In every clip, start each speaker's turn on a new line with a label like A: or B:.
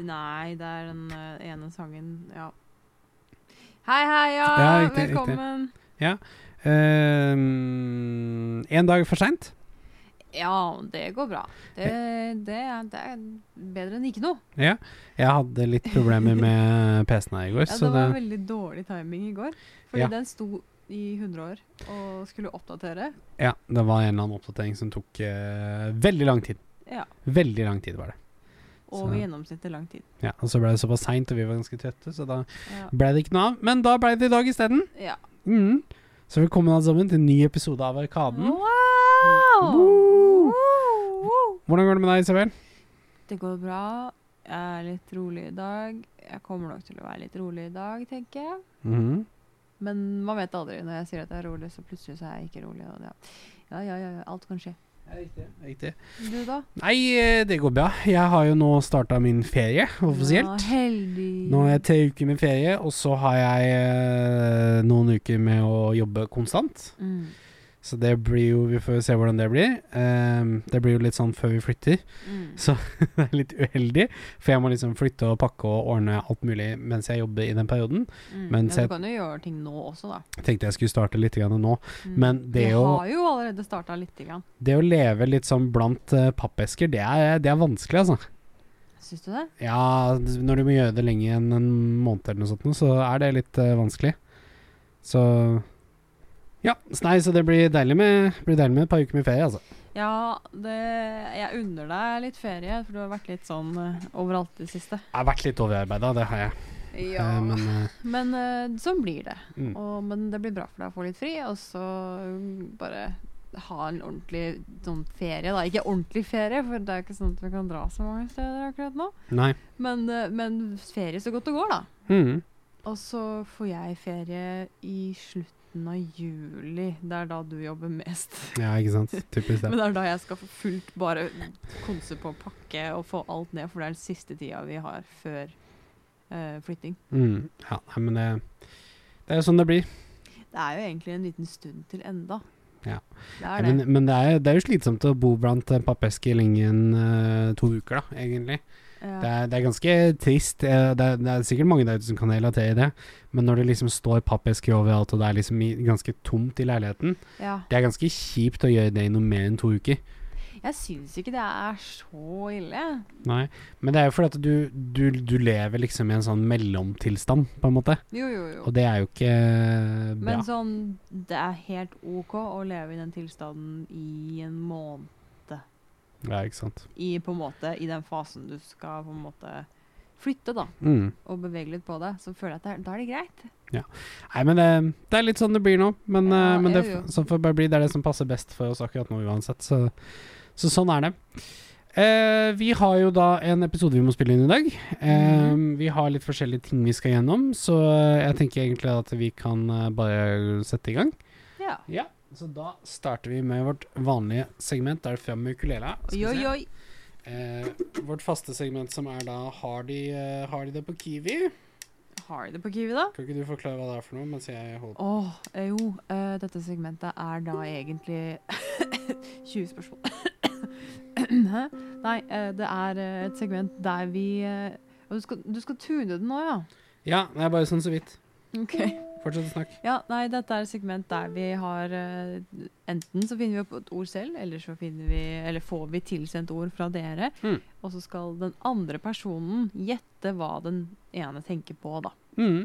A: Nei, det er den eh, ene sangen, ja. Hei, hei, ja,
B: Ja, riktig, riktig.
A: velkommen.
B: Ehm, en dag for seint.
A: Ja, det går bra. Det,
B: Eh.
A: det, er, det er bedre enn ikke noe.
B: Ja. Jeg hadde litt problemer med PC-en her i går,
A: Ja,
B: så
A: det var
B: det
A: veldig dårlig timing i går, fordi
B: Ja.
A: den sto i 100 år og skulle oppdatere.
B: Ja, det var en eller annen oppdatering som tok eh, veldig lang tid.
A: Ja,
B: Veldig lang tid var det.
A: over
B: Så-
A: gjennomsnittet lang tid.
B: Ja, og så ble det såpass seint, og vi var ganske trøtte, så da
A: Ja.
B: ble det ikke noe av. Men da ble det i dag isteden.
A: ja.
B: Mm. Så velkommen alle sammen til en ny episode av Arkaden.
A: Wow!
B: Woo!
A: Woo!
B: Hvordan går det med deg, Isabel?
A: Det går bra. Jeg er litt rolig i dag. Jeg kommer nok til å være litt rolig i dag, tenker jeg.
B: Mhm.
A: Men man vet aldri. Når jeg sier at jeg er rolig, så plutselig så er jeg ikke rolig. Og det. Ja, ja, ja, ja. Alt kan skje.
B: Riktig. Riktig.
A: Du, da?
B: Nei, eh, det går bra. Jeg har jo nå starta min ferie offisielt.
A: Ja, heldig.
B: Nå har jeg tre uker med ferie, og så har jeg eh, noen uker med å jobbe konstant.
A: mm.
B: Så det blir jo Vi får se hvordan det blir. Ehm, det blir jo litt sånn før vi flytter.
A: Mm.
B: Så- Det er litt uheldig, for jeg må liksom flytte og pakke og ordne alt mulig mens jeg jobber i den perioden.
A: Mm.
B: men
A: ja,
B: se-
A: du kan jo gjøre ting nå også, da.
B: Jeg tenkte jeg skulle starte litt grann nå.
A: Mm.
B: Men det
A: Vi
B: å-
A: har jo allerede starta lite grann.
B: Det å leve litt sånn blant eh, pappesker, det er, det er vanskelig, altså.
A: Syns du det?
B: Ja, når du må gjøre det lenger enn en måned eller noe sånt, nå, så er det litt eh, vanskelig. Så Ja. Så nei, så det blir deilig med, blir deilig med et par uker med ferie, altså.
A: Ja, det, jeg unner deg litt ferie, for du har vært litt sånn eh, overalt i det siste.
B: Jeg har vært litt overarbeida, det har jeg.
A: Ja.
B: Eh, men eh,
A: Men eh, sånn blir det.
B: Mm.
A: Og, men det blir bra for deg å få litt fri, og så mm, bare ha en ordentlig sånn ferie, da. Ikke ordentlig ferie, for det er jo ikke sånn at vi kan dra så mange steder akkurat nå.
B: Nei.
A: Men, eh, men ferie så godt det går, da.
B: Mm.
A: Og så får jeg ferie i slutten av juli. Det er da du jobber mest.
B: Ja, ikke sant. Typisk det.
A: Men det er da jeg skal få fullt bare konse på å pakke og få alt ned, for det er den siste tida vi har før eh, flytting.
B: Mm. Ja, nei, men det, det er jo sånn det blir.
A: Det er jo egentlig en liten stund til enda.
B: Ja.
A: Det
B: Ja,
A: er det.
B: men men det, er, det er jo slitsomt å bo blant eh, pappesker lenger enn eh, to uker, da, egentlig.
A: ja.
B: Det er, det er ganske trist. eh, Det er, det er sikkert mange der ute som kan relatere i det, men når det liksom står pappesker overalt, og det er liksom i, ganske tomt i leiligheten
A: ja.
B: Det er ganske kjipt å gjøre det i noe mer enn to uker.
A: Jeg syns ikke det er så ille.
B: Nei, Men det er jo fordi at du, du, du lever liksom i en sånn mellomtilstand, på en måte.
A: Jo, jo, jo.
B: Og det er jo ikke eh, bra.
A: Men sånn, det er helt OK å leve i den tilstanden i en måned.
B: Ja, ikke sant.
A: I, på en måte, I den fasen du skal på en måte flytte, da,
B: Mm.
A: og bevege litt på deg. Så føler jeg at det er, da er det greit.
B: Nei, men det, det er litt sånn det blir nå. Men,
A: Ja,
B: eh, men
A: jo,
B: det,
A: jo.
B: f- sånn får det bare bli. Det er det som passer best for oss akkurat nå uansett. Så, så sånn er det. Eh, vi har jo da en episode vi må spille inn i dag. Eh, Vi har litt forskjellige ting vi skal gjennom, så eh, jeg tenker egentlig at vi kan eh, bare sette i gang.
A: Ja.
B: Ja, så da starter vi med vårt vanlige segment. Der fram med ukulele. Skal
A: Oi,
B: vi
A: oi,
B: se.
A: oi.
B: Eh, vårt faste segment som er da Har de, eh, har de det på Kiwi?
A: Har de det på Kiwi, da?
B: Kan ikke du forklare hva det er for noe mens jeg holder på?
A: Åh, eh, jo. eh, dette segmentet er da egentlig 20 spørsmål. Hæ? Nei, eh, det er eh, et segment der vi eh, og du, skal, du skal tune den nå, ja?
B: Ja, det er bare sånn så vidt.
A: Ok.
B: Fortsett å snakke.
A: Ja, nei, dette er et segment der vi har eh, Enten så finner vi opp et ord selv, eller så finner vi Eller får vi tilsendt ord fra dere.
B: Mm.
A: Og så skal den andre personen gjette hva den ene tenker på, da.
B: Mm.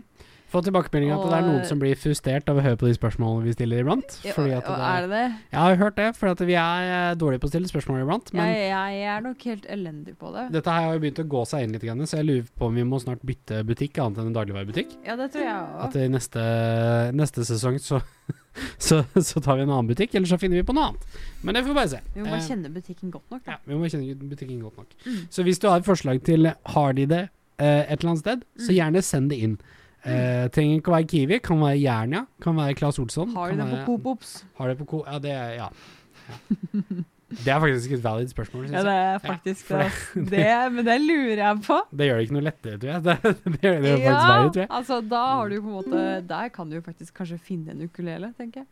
B: Få tilbakemelding at det er noen
A: Og-
B: som blir frustrert av å høre på de spørsmålene vi stiller iblant. Fordi at
A: Og- og
B: det er,
A: er det det?
B: jeg har hørt det, for at vi er eh, dårlige på å stille spørsmål iblant. Men
A: Jeg, jeg er nok helt elendig på det.
B: dette her har jo begynt å gå seg inn litt, grann, så jeg lurer på om vi må snart bytte butikk, annet enn en dagligvarebutikk.
A: Ja, det tror jeg òg.
B: At i neste, neste sesong så, så, så tar vi en annen butikk, eller så finner vi på noe annet. Men det får vi bare se.
A: Vi må bare
B: Eh,
A: kjenne butikken godt nok, da.
B: ja, vi må kjenne butikken godt nok.
A: Mm.
B: Så hvis du har et forslag til har de det eh, et eller annet sted, så
A: Mm.
B: gjerne send det inn. Eh, trenger ikke å være Kiwi, kan være Jernia, kan være Claes Olsson.
A: Har
B: Sånn kan
A: de det på
B: være-
A: Coop Ops?
B: Har det på Coop? Ja, det er, ja. ja. Det er faktisk et valid spørsmål, synes
A: Ja, det er faktisk
B: for
A: det.
B: det-
A: ass. Det, men det lurer jeg på.
B: jeg. Det gjør det ikke noe lettere, tror jeg. Det, det gjør det faktisk
A: Ja,
B: verre, tror jeg.
A: altså da har du jo på en måte Der kan du jo faktisk kanskje finne en ukulele, tenker jeg.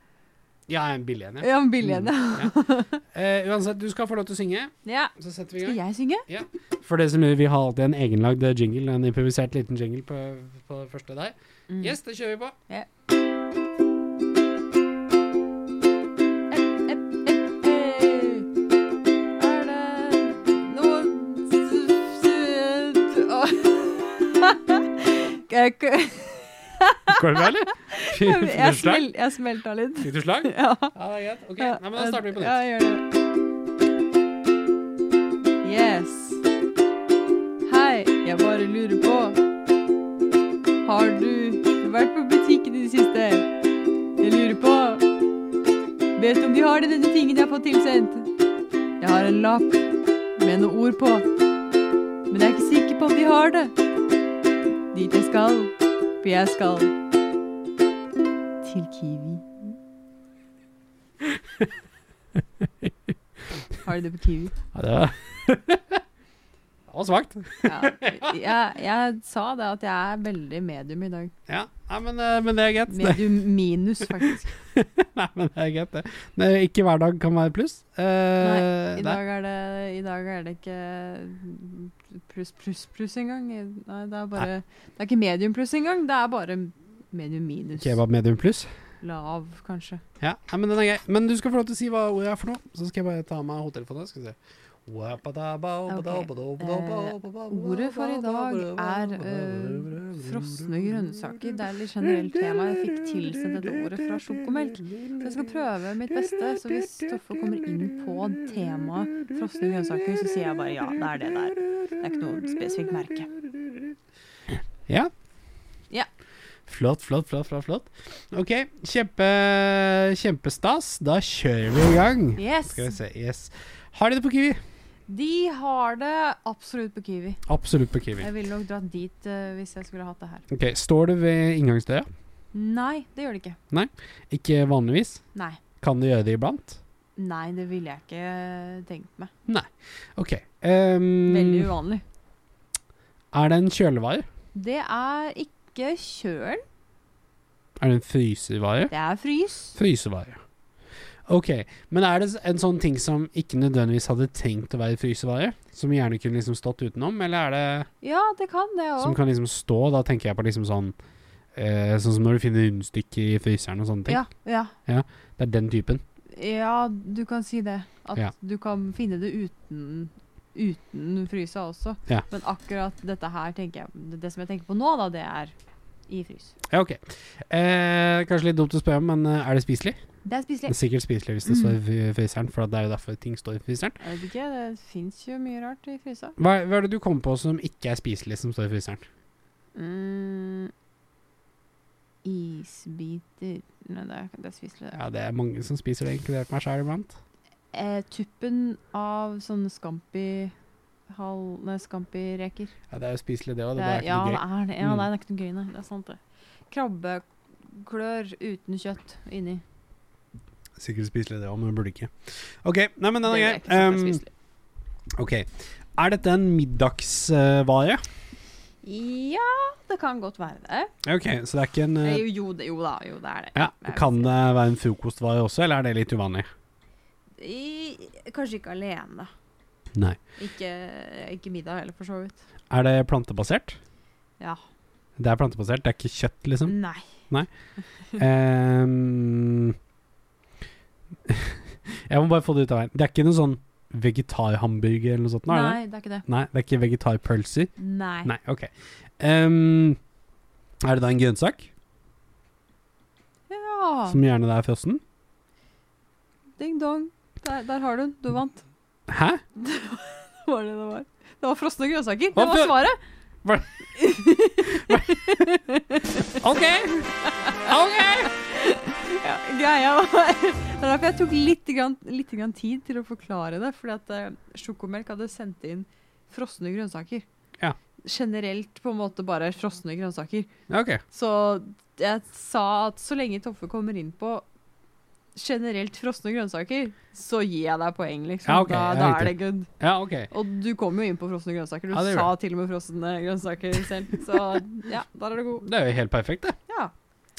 B: Ja, en billig en, ja.
A: Ja, en billig en. ja.
B: Eh, uansett, du skal få lov til å synge,
A: Ja.
B: så setter vi i
A: Skal
B: gang.
A: jeg synge?
B: For det som lurer, vi har alltid en egenlagd eh, jingle, en improvisert liten jingle på, på det første der.
A: Mm.
B: Yes, det kjører vi på.
A: Er det noen
B: Går det bra, eller? Fikk du
A: Jeg,
B: slag?
A: smel, jeg smelta litt.
B: Fikk du slag?
A: Ja.
B: Ja, det er greit. Ok, Nei, men da starter vi på
A: Ja,
B: nytt.
A: gjør det. Yes. Hei, jeg bare lurer på Har du vært på butikken i det siste? Jeg lurer på Vet du om de har denne tingen jeg har fått tilsendt? Jeg har en lapp med noen ord på, men jeg er ikke sikker på om de har det. Dit jeg skal, for jeg skal til Kiwi. Har de det på Kiwi?
B: Ja, det var Det var svakt.
A: Ja. Jeg, jeg sa det at jeg er veldig medium i dag.
B: Ja, nei, men, eh, men det er greit. Det,
A: Medium minus, faktisk.
B: nei, men det er greit, det. Nei, ikke hver dag kan være pluss. Eh,
A: I
B: nei.
A: dag er det, i dag er det ikke pluss, pluss, pluss engang. Nei, det er bare Det er ikke medium pluss engang, det er bare medium minus.
B: Kebab medium pluss.
A: Lav, kanskje.
B: Ja, nei, men den er grei. Men du skal få lov til å si hva ordet er for noe. Så skal jeg bare ta av meg hodetelefonen. Skal vi se.
A: Ordet Eh, for i dag er eh, frosne grønnsaker. Det er litt generelt tema. Jeg fikk tilsendt dette ordet fra sjokomelk. Så jeg skal prøve mitt beste, så hvis Stoffe kommer inn på temaet frosne grønnsaker, så sier jeg bare ja, det er det der. Det er ikke noe spesifikt merke.
B: Ja.
A: Ja.
B: Flott, flott, flott, flott. flott. Ok, kjempe, kjempestas. Da kjører vi i gang.
A: Yes!
B: Skal vi se, yes. Har de det på Kiwi?
A: De har det absolutt på Kiwi.
B: Absolutt på Kiwi.
A: Jeg ville nok dratt dit eh, hvis jeg skulle hatt det her.
B: Ok, Står det ved inngangsdøra?
A: Nei, det gjør det ikke.
B: Ikke vanligvis.
A: Nei.
B: Kan du gjøre det iblant?
A: Nei, det ville jeg ikke eh, tenkt meg.
B: Ok. ehm,
A: Veldig uvanlig.
B: er det en kjølevare?
A: Det er ikke kjølen,
B: Er det en frysevare?
A: det er frys.
B: Frysevare. Ok, men er det s- en sånn ting som ikke nødvendigvis hadde trengt å være frysevare? Som gjerne kunne liksom stått utenom, eller er det
A: Ja, det kan det
B: Som
A: òg.
B: kan liksom stå, da tenker jeg på liksom sånn eh, Sånn som når du finner rundstykker i fryseren og sånne ting.
A: Ja, ja.
B: Det er den typen.
A: ja, du kan si det. At
B: Ja.
A: du kan finne det uten, uten frysa også.
B: Ja.
A: Men akkurat dette her tenker jeg Det, det som jeg tenker på nå, da, det er i frys.
B: Ja, ok. Eh, kanskje litt dumt å spørre om, men eh, er det spiselig?
A: Det er
B: Det
A: spiselig.
B: er sikkert spiselig hvis det står i fry- fryseren, for det er jo derfor ting står i fryseren.
A: Jeg vet ikke, det fins jo mye rart i frysa.
B: Hva, hva er det du kommer på som ikke er spiselig, som står i fryseren?
A: Mm. Isbiter Nei, det er, det er spiselig. det.
B: Ja, det er mange som spiser det, inkludert meg sjæl iblant.
A: Eh, tuppen av sånne scampi hal- Nei, scampi-reker.
B: Ja, det er jo spiselig, det òg. Det
A: Det
B: er
A: er,
B: ikke
A: ja, det
B: noe gøy.
A: er det. Ja,
B: Mm.
A: nei, det er ikke noe gøy, nei. Det er sant, det. Krabbeklør uten kjøtt inni.
B: Sikkert spiselig, det òg, men burde ikke. OK, nei, men den
A: Det
B: er
A: er
B: grei.
A: ikke sant, det er
B: Um,
A: spiselig.
B: ok. Er dette en middagsvare?
A: Ja, det kan godt være det.
B: OK, så det er ikke en eh,
A: Eh, Jo, jo, det- jo da, jo det er det.
B: Ja,
A: Jeg
B: Kan
A: vil
B: det være en frokostvare også, eller er det litt uvanlig?
A: I, kanskje ikke alene.
B: Nei.
A: Ikke, ikke middag heller, for så vidt.
B: Er det plantebasert?
A: Ja.
B: Det er plantebasert, det er ikke kjøtt, liksom.
A: Nei.
B: Ehm, jeg må bare få det ut av veien. Det er ikke noe sånn vegetarhamburger eller noe sånt? nå, er det?
A: Nei, det er ikke det.
B: Nei, det er ikke vegetarpølser?
A: Nei.
B: Nei, OK. Ehm, er det da en grønnsak,
A: Ja,
B: som gjerne det er frossen?
A: ding dong. Der, der har du den. Du vant.
B: Hæ?
A: Det var det det var. Det var frosne grønnsaker. Det
B: Hva
A: var
B: for-
A: svaret.
B: OK! OK!
A: Ja, greia var Det er derfor jeg tok litt, grann, litt grann tid til å forklare det. Fordi at eh, sjokomelk hadde sendt inn frosne grønnsaker.
B: Ja.
A: Generelt på en måte bare frosne grønnsaker.
B: Ok.
A: Så jeg sa at så lenge Toffe kommer inn på generelt frosne grønnsaker, så gir jeg deg poeng, liksom.
B: Ja, ok,
A: da,
B: ja,
A: da
B: riktig.
A: er det good.
B: Ja, ok.
A: Og du kom jo inn på frosne grønnsaker. Du
B: Ja, det gjorde
A: sa til og med frosne grønnsaker selv. Så ja, der er du god.
B: Det er jo helt perfekt, det.
A: Ja.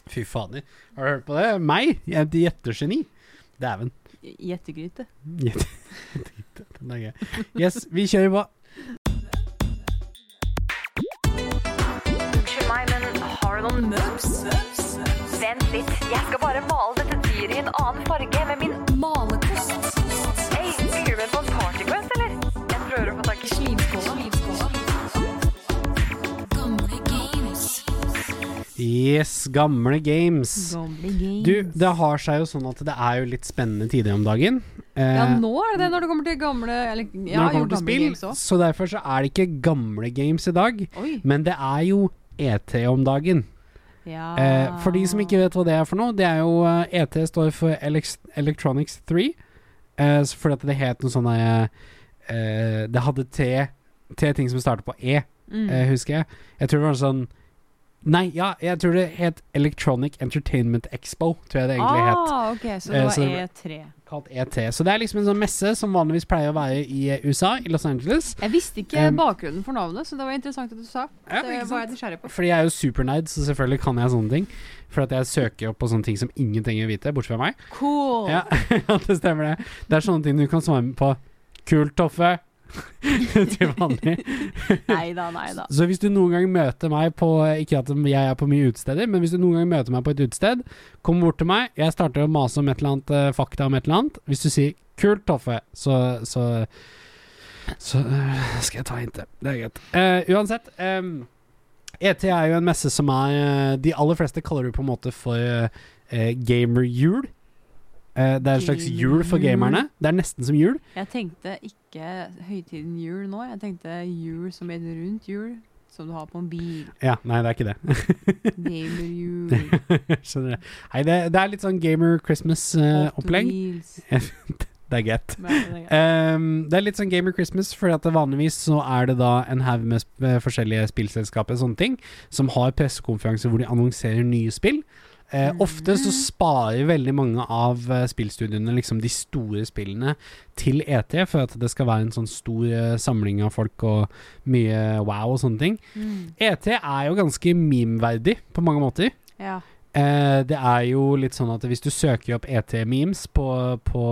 B: Fy fader. Har du hørt på det? Meg? Jeg er et gjettergeni. Dæven.
A: Gjettegryte.
B: Gjett- Den er gøy. Yes, vi kjører på.
C: Unnskyld meg, men har du noen møbs? Vent litt, jeg skal bare male dette dyret i en annen farge med min malerkost. Hei, ligger du med på en partyquest, eller? Jeg prøver å få tak i slimskåla. Gamle games.
B: Yes, gamle games. Du, det har seg jo sånn at det er jo litt spennende tider om dagen. Eh,
A: Ja, nå er det det, når det kommer til gamle eller, ja,
B: når det kommer
A: jo,
B: til
A: gamle
B: spill,
A: games også.
B: så derfor så er det ikke gamle games i dag.
A: Oi.
B: Men det er jo ET om dagen.
A: Ja.
B: Eh, for de som
A: Ah.
B: ikke vet hva det er for noe, det er jo eh, ET står for Elex Electronics 3. Eh, så fordi at det het noe sånn eh, eh, Det hadde tre, tre ting som startet på E,
A: mm.
B: eh, husker jeg. Jeg tror det var noe sånn Nei, ja, jeg tror det het Electronic Entertainment Expo, tror jeg det egentlig het.
A: Ah, ok, så
B: Eh,
A: det
B: så
A: var
B: det ble-
A: E3.
B: kalt ET. Så det er liksom en sånn messe som vanligvis pleier å være i eh, USA, i Los Angeles.
A: Jeg visste ikke
B: Um,
A: bakgrunnen for navnet, så det var interessant at du sa.
B: Ja,
A: det
B: ikke
A: var jeg
B: sant?
A: nysgjerrig på.
B: Fordi jeg er jo supernerd, så selvfølgelig kan jeg sånne ting. For at jeg søker opp på sånne ting som ingen trenger å vite, bortsett fra meg.
A: Cool!
B: Ja, ja, det stemmer det. Det er sånne ting du kan svare på. Kult, Toffe. Til vanlig.
A: Nei da, nei da.
B: Så hvis du noen gang møter meg på Ikke at jeg er på mye utesteder, men hvis du noen gang møter meg på et utested, kom bort til meg, jeg starter å mase om et eller annet eh, fakta om et eller annet. Hvis du sier 'kult, Toffe', så, så, så eh, skal jeg ta hintet. Det er greit. Eh, uansett. em, ET er jo en messe som er eh, De aller fleste kaller det på en måte for eh, eh, gamerjul. Eh, det er en slags jul for
A: Gamerjul.
B: gamerne. Det er nesten som jul.
A: Jeg tenkte ikke høytiden jul nå, jeg tenkte jul som en rundt jul. Som du har på en bil.
B: Ja, nei, det er ikke det.
A: Gamerjul.
B: Skjønner jeg. Nei, det, det er litt sånn gamer Eh, Christmas-opplegg.
A: Hot Wheels.
B: det er greit.
A: Men det er greit.
B: Ehm, det er litt sånn gamer Christmas, for at det vanligvis så er det da en haug med sp eh, forskjellige spillselskaper og sånne ting, som har pressekonferanser hvor de annonserer nye spill. Eh, Ofte så sparer veldig mange av eh, spillstudiene liksom de store spillene til ET, for at det skal være en sånn stor eh, samling av folk og mye wow og sånne ting.
A: Mm.
B: ET er jo ganske meme-verdig på mange måter.
A: Ja.
B: Eh, det er jo litt sånn at hvis du søker opp ET-memes på, på,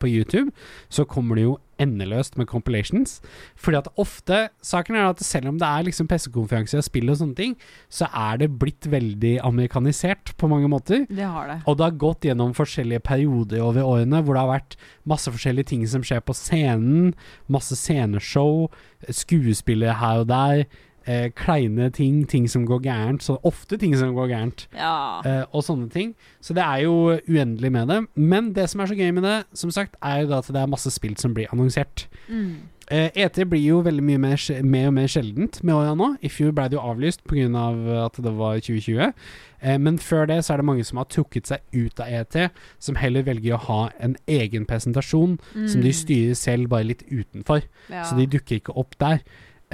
B: på YouTube, så kommer det jo endeløst med compilations. Fordi at ofte Saken er at selv om det er liksom pressekonferanser og spill og sånne ting, så er det blitt veldig amerikanisert på mange måter.
A: Det har det.
B: Og det har gått gjennom forskjellige perioder over årene hvor det har vært masse forskjellige ting som skjer på scenen. Masse sceneshow, skuespillere her og der. Eh, kleine ting, ting som går gærent. Så ofte ting som går gærent
A: Ja.
B: eh, og sånne ting. Så det er jo uendelig med det. Men det som er så gøy med det, som sagt, er jo da at det er masse spill som blir annonsert.
A: Mm.
B: Eh, ET blir jo veldig mye mer, sj- mer og mer sjeldent med åra nå. I fjor ble det jo avlyst pga. Av at det var 2020. Eh, men før det så er det mange som har trukket seg ut av ET, som heller velger å ha en egen presentasjon som de
A: Mm.
B: styrer selv, bare litt utenfor.
A: Ja.
B: Så de dukker ikke opp der.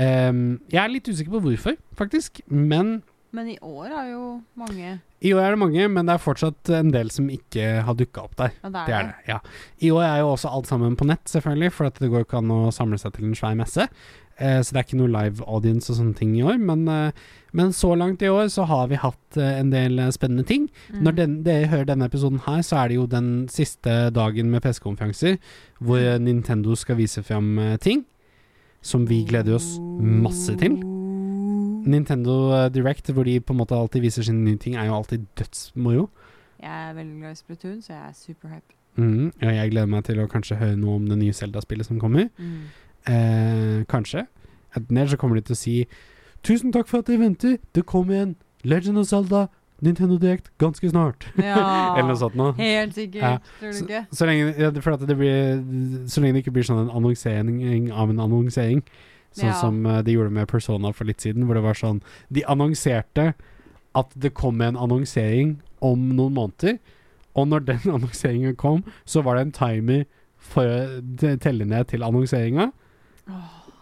B: Ehm, jeg er litt usikker på hvorfor, faktisk. Men
A: Men i år er jo mange
B: I år er det mange, men det er fortsatt en del som ikke har dukka opp der.
A: Ja, det er
B: Det er det, ja. I år er jo også alt sammen på nett, selvfølgelig, for at det går ikke an å samle seg til en svær messe. Eh, så det er ikke noe live audience og sånne ting i år. Men, eh, men så langt i år så har vi hatt eh, en del eh, spennende ting.
A: Mm.
B: Når den, dere hører denne episoden her, så er det jo den siste dagen med pressekonferanser, hvor eh, Nintendo skal vise fram eh, ting som vi gleder oss masse til.
A: Oh.
B: Nintendo eh, Direct, hvor de på en måte alltid viser sine nye ting, er jo alltid dødsmoro.
A: Jeg er veldig glad i Splatoon, så jeg er superhype.
B: Mhm, ja, jeg gleder meg til å kanskje høre noe om det nye Zelda-spillet som kommer.
A: Mm.
B: Eh, kanskje. Enten eller så kommer de til å si Tusen takk for at dere venter, det kommer igjen Legend of Zelda, Nintendo Direct, ganske snart.
A: Ja,
B: Eller noe sånt nå
A: Helt sikkert,
B: Ja.
A: tror du ikke?
B: Så lenge, ja, for at det blir, så lenge det ikke blir sånn en annonsering av en annonsering, sånn
A: Ja.
B: som eh, de gjorde med Persona for litt siden, hvor det var sånn De annonserte at det kom en annonsering om noen måneder, Og når den annonseringen kom, så var det en timer for å de- telle ned til annonseringa,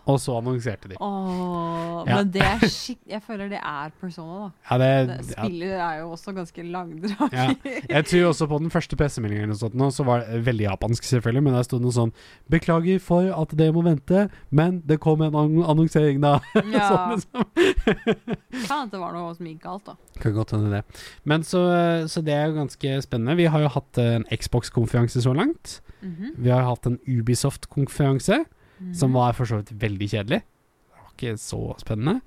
B: og så annonserte de.
A: Åh,
B: Ja.
A: Men det er skikk... Jeg føler det er persona, da.
B: Ja,
A: Det,
B: det, ja,
A: spiller er jo også ganske langdrag.
B: Ja. jeg tror også på den første pressemeldingen eller noe sånt nå, så var det veldig japansk selvfølgelig, men der stod noe sånn Beklager for at det må vente, men det kom en ann- annonsering da.
A: Ja.
B: sånn, liksom.
A: Kan hende det var noe som gikk galt, da.
B: Kan godt hende det. Men så, så det er jo ganske spennende. Vi har jo hatt en Xbox-konferanse så langt.
A: Mhm.
B: Vi har hatt en Ubisoft-konferanse,
A: Mhm.
B: som var for så vidt veldig kjedelig. Det var ikke så spennende.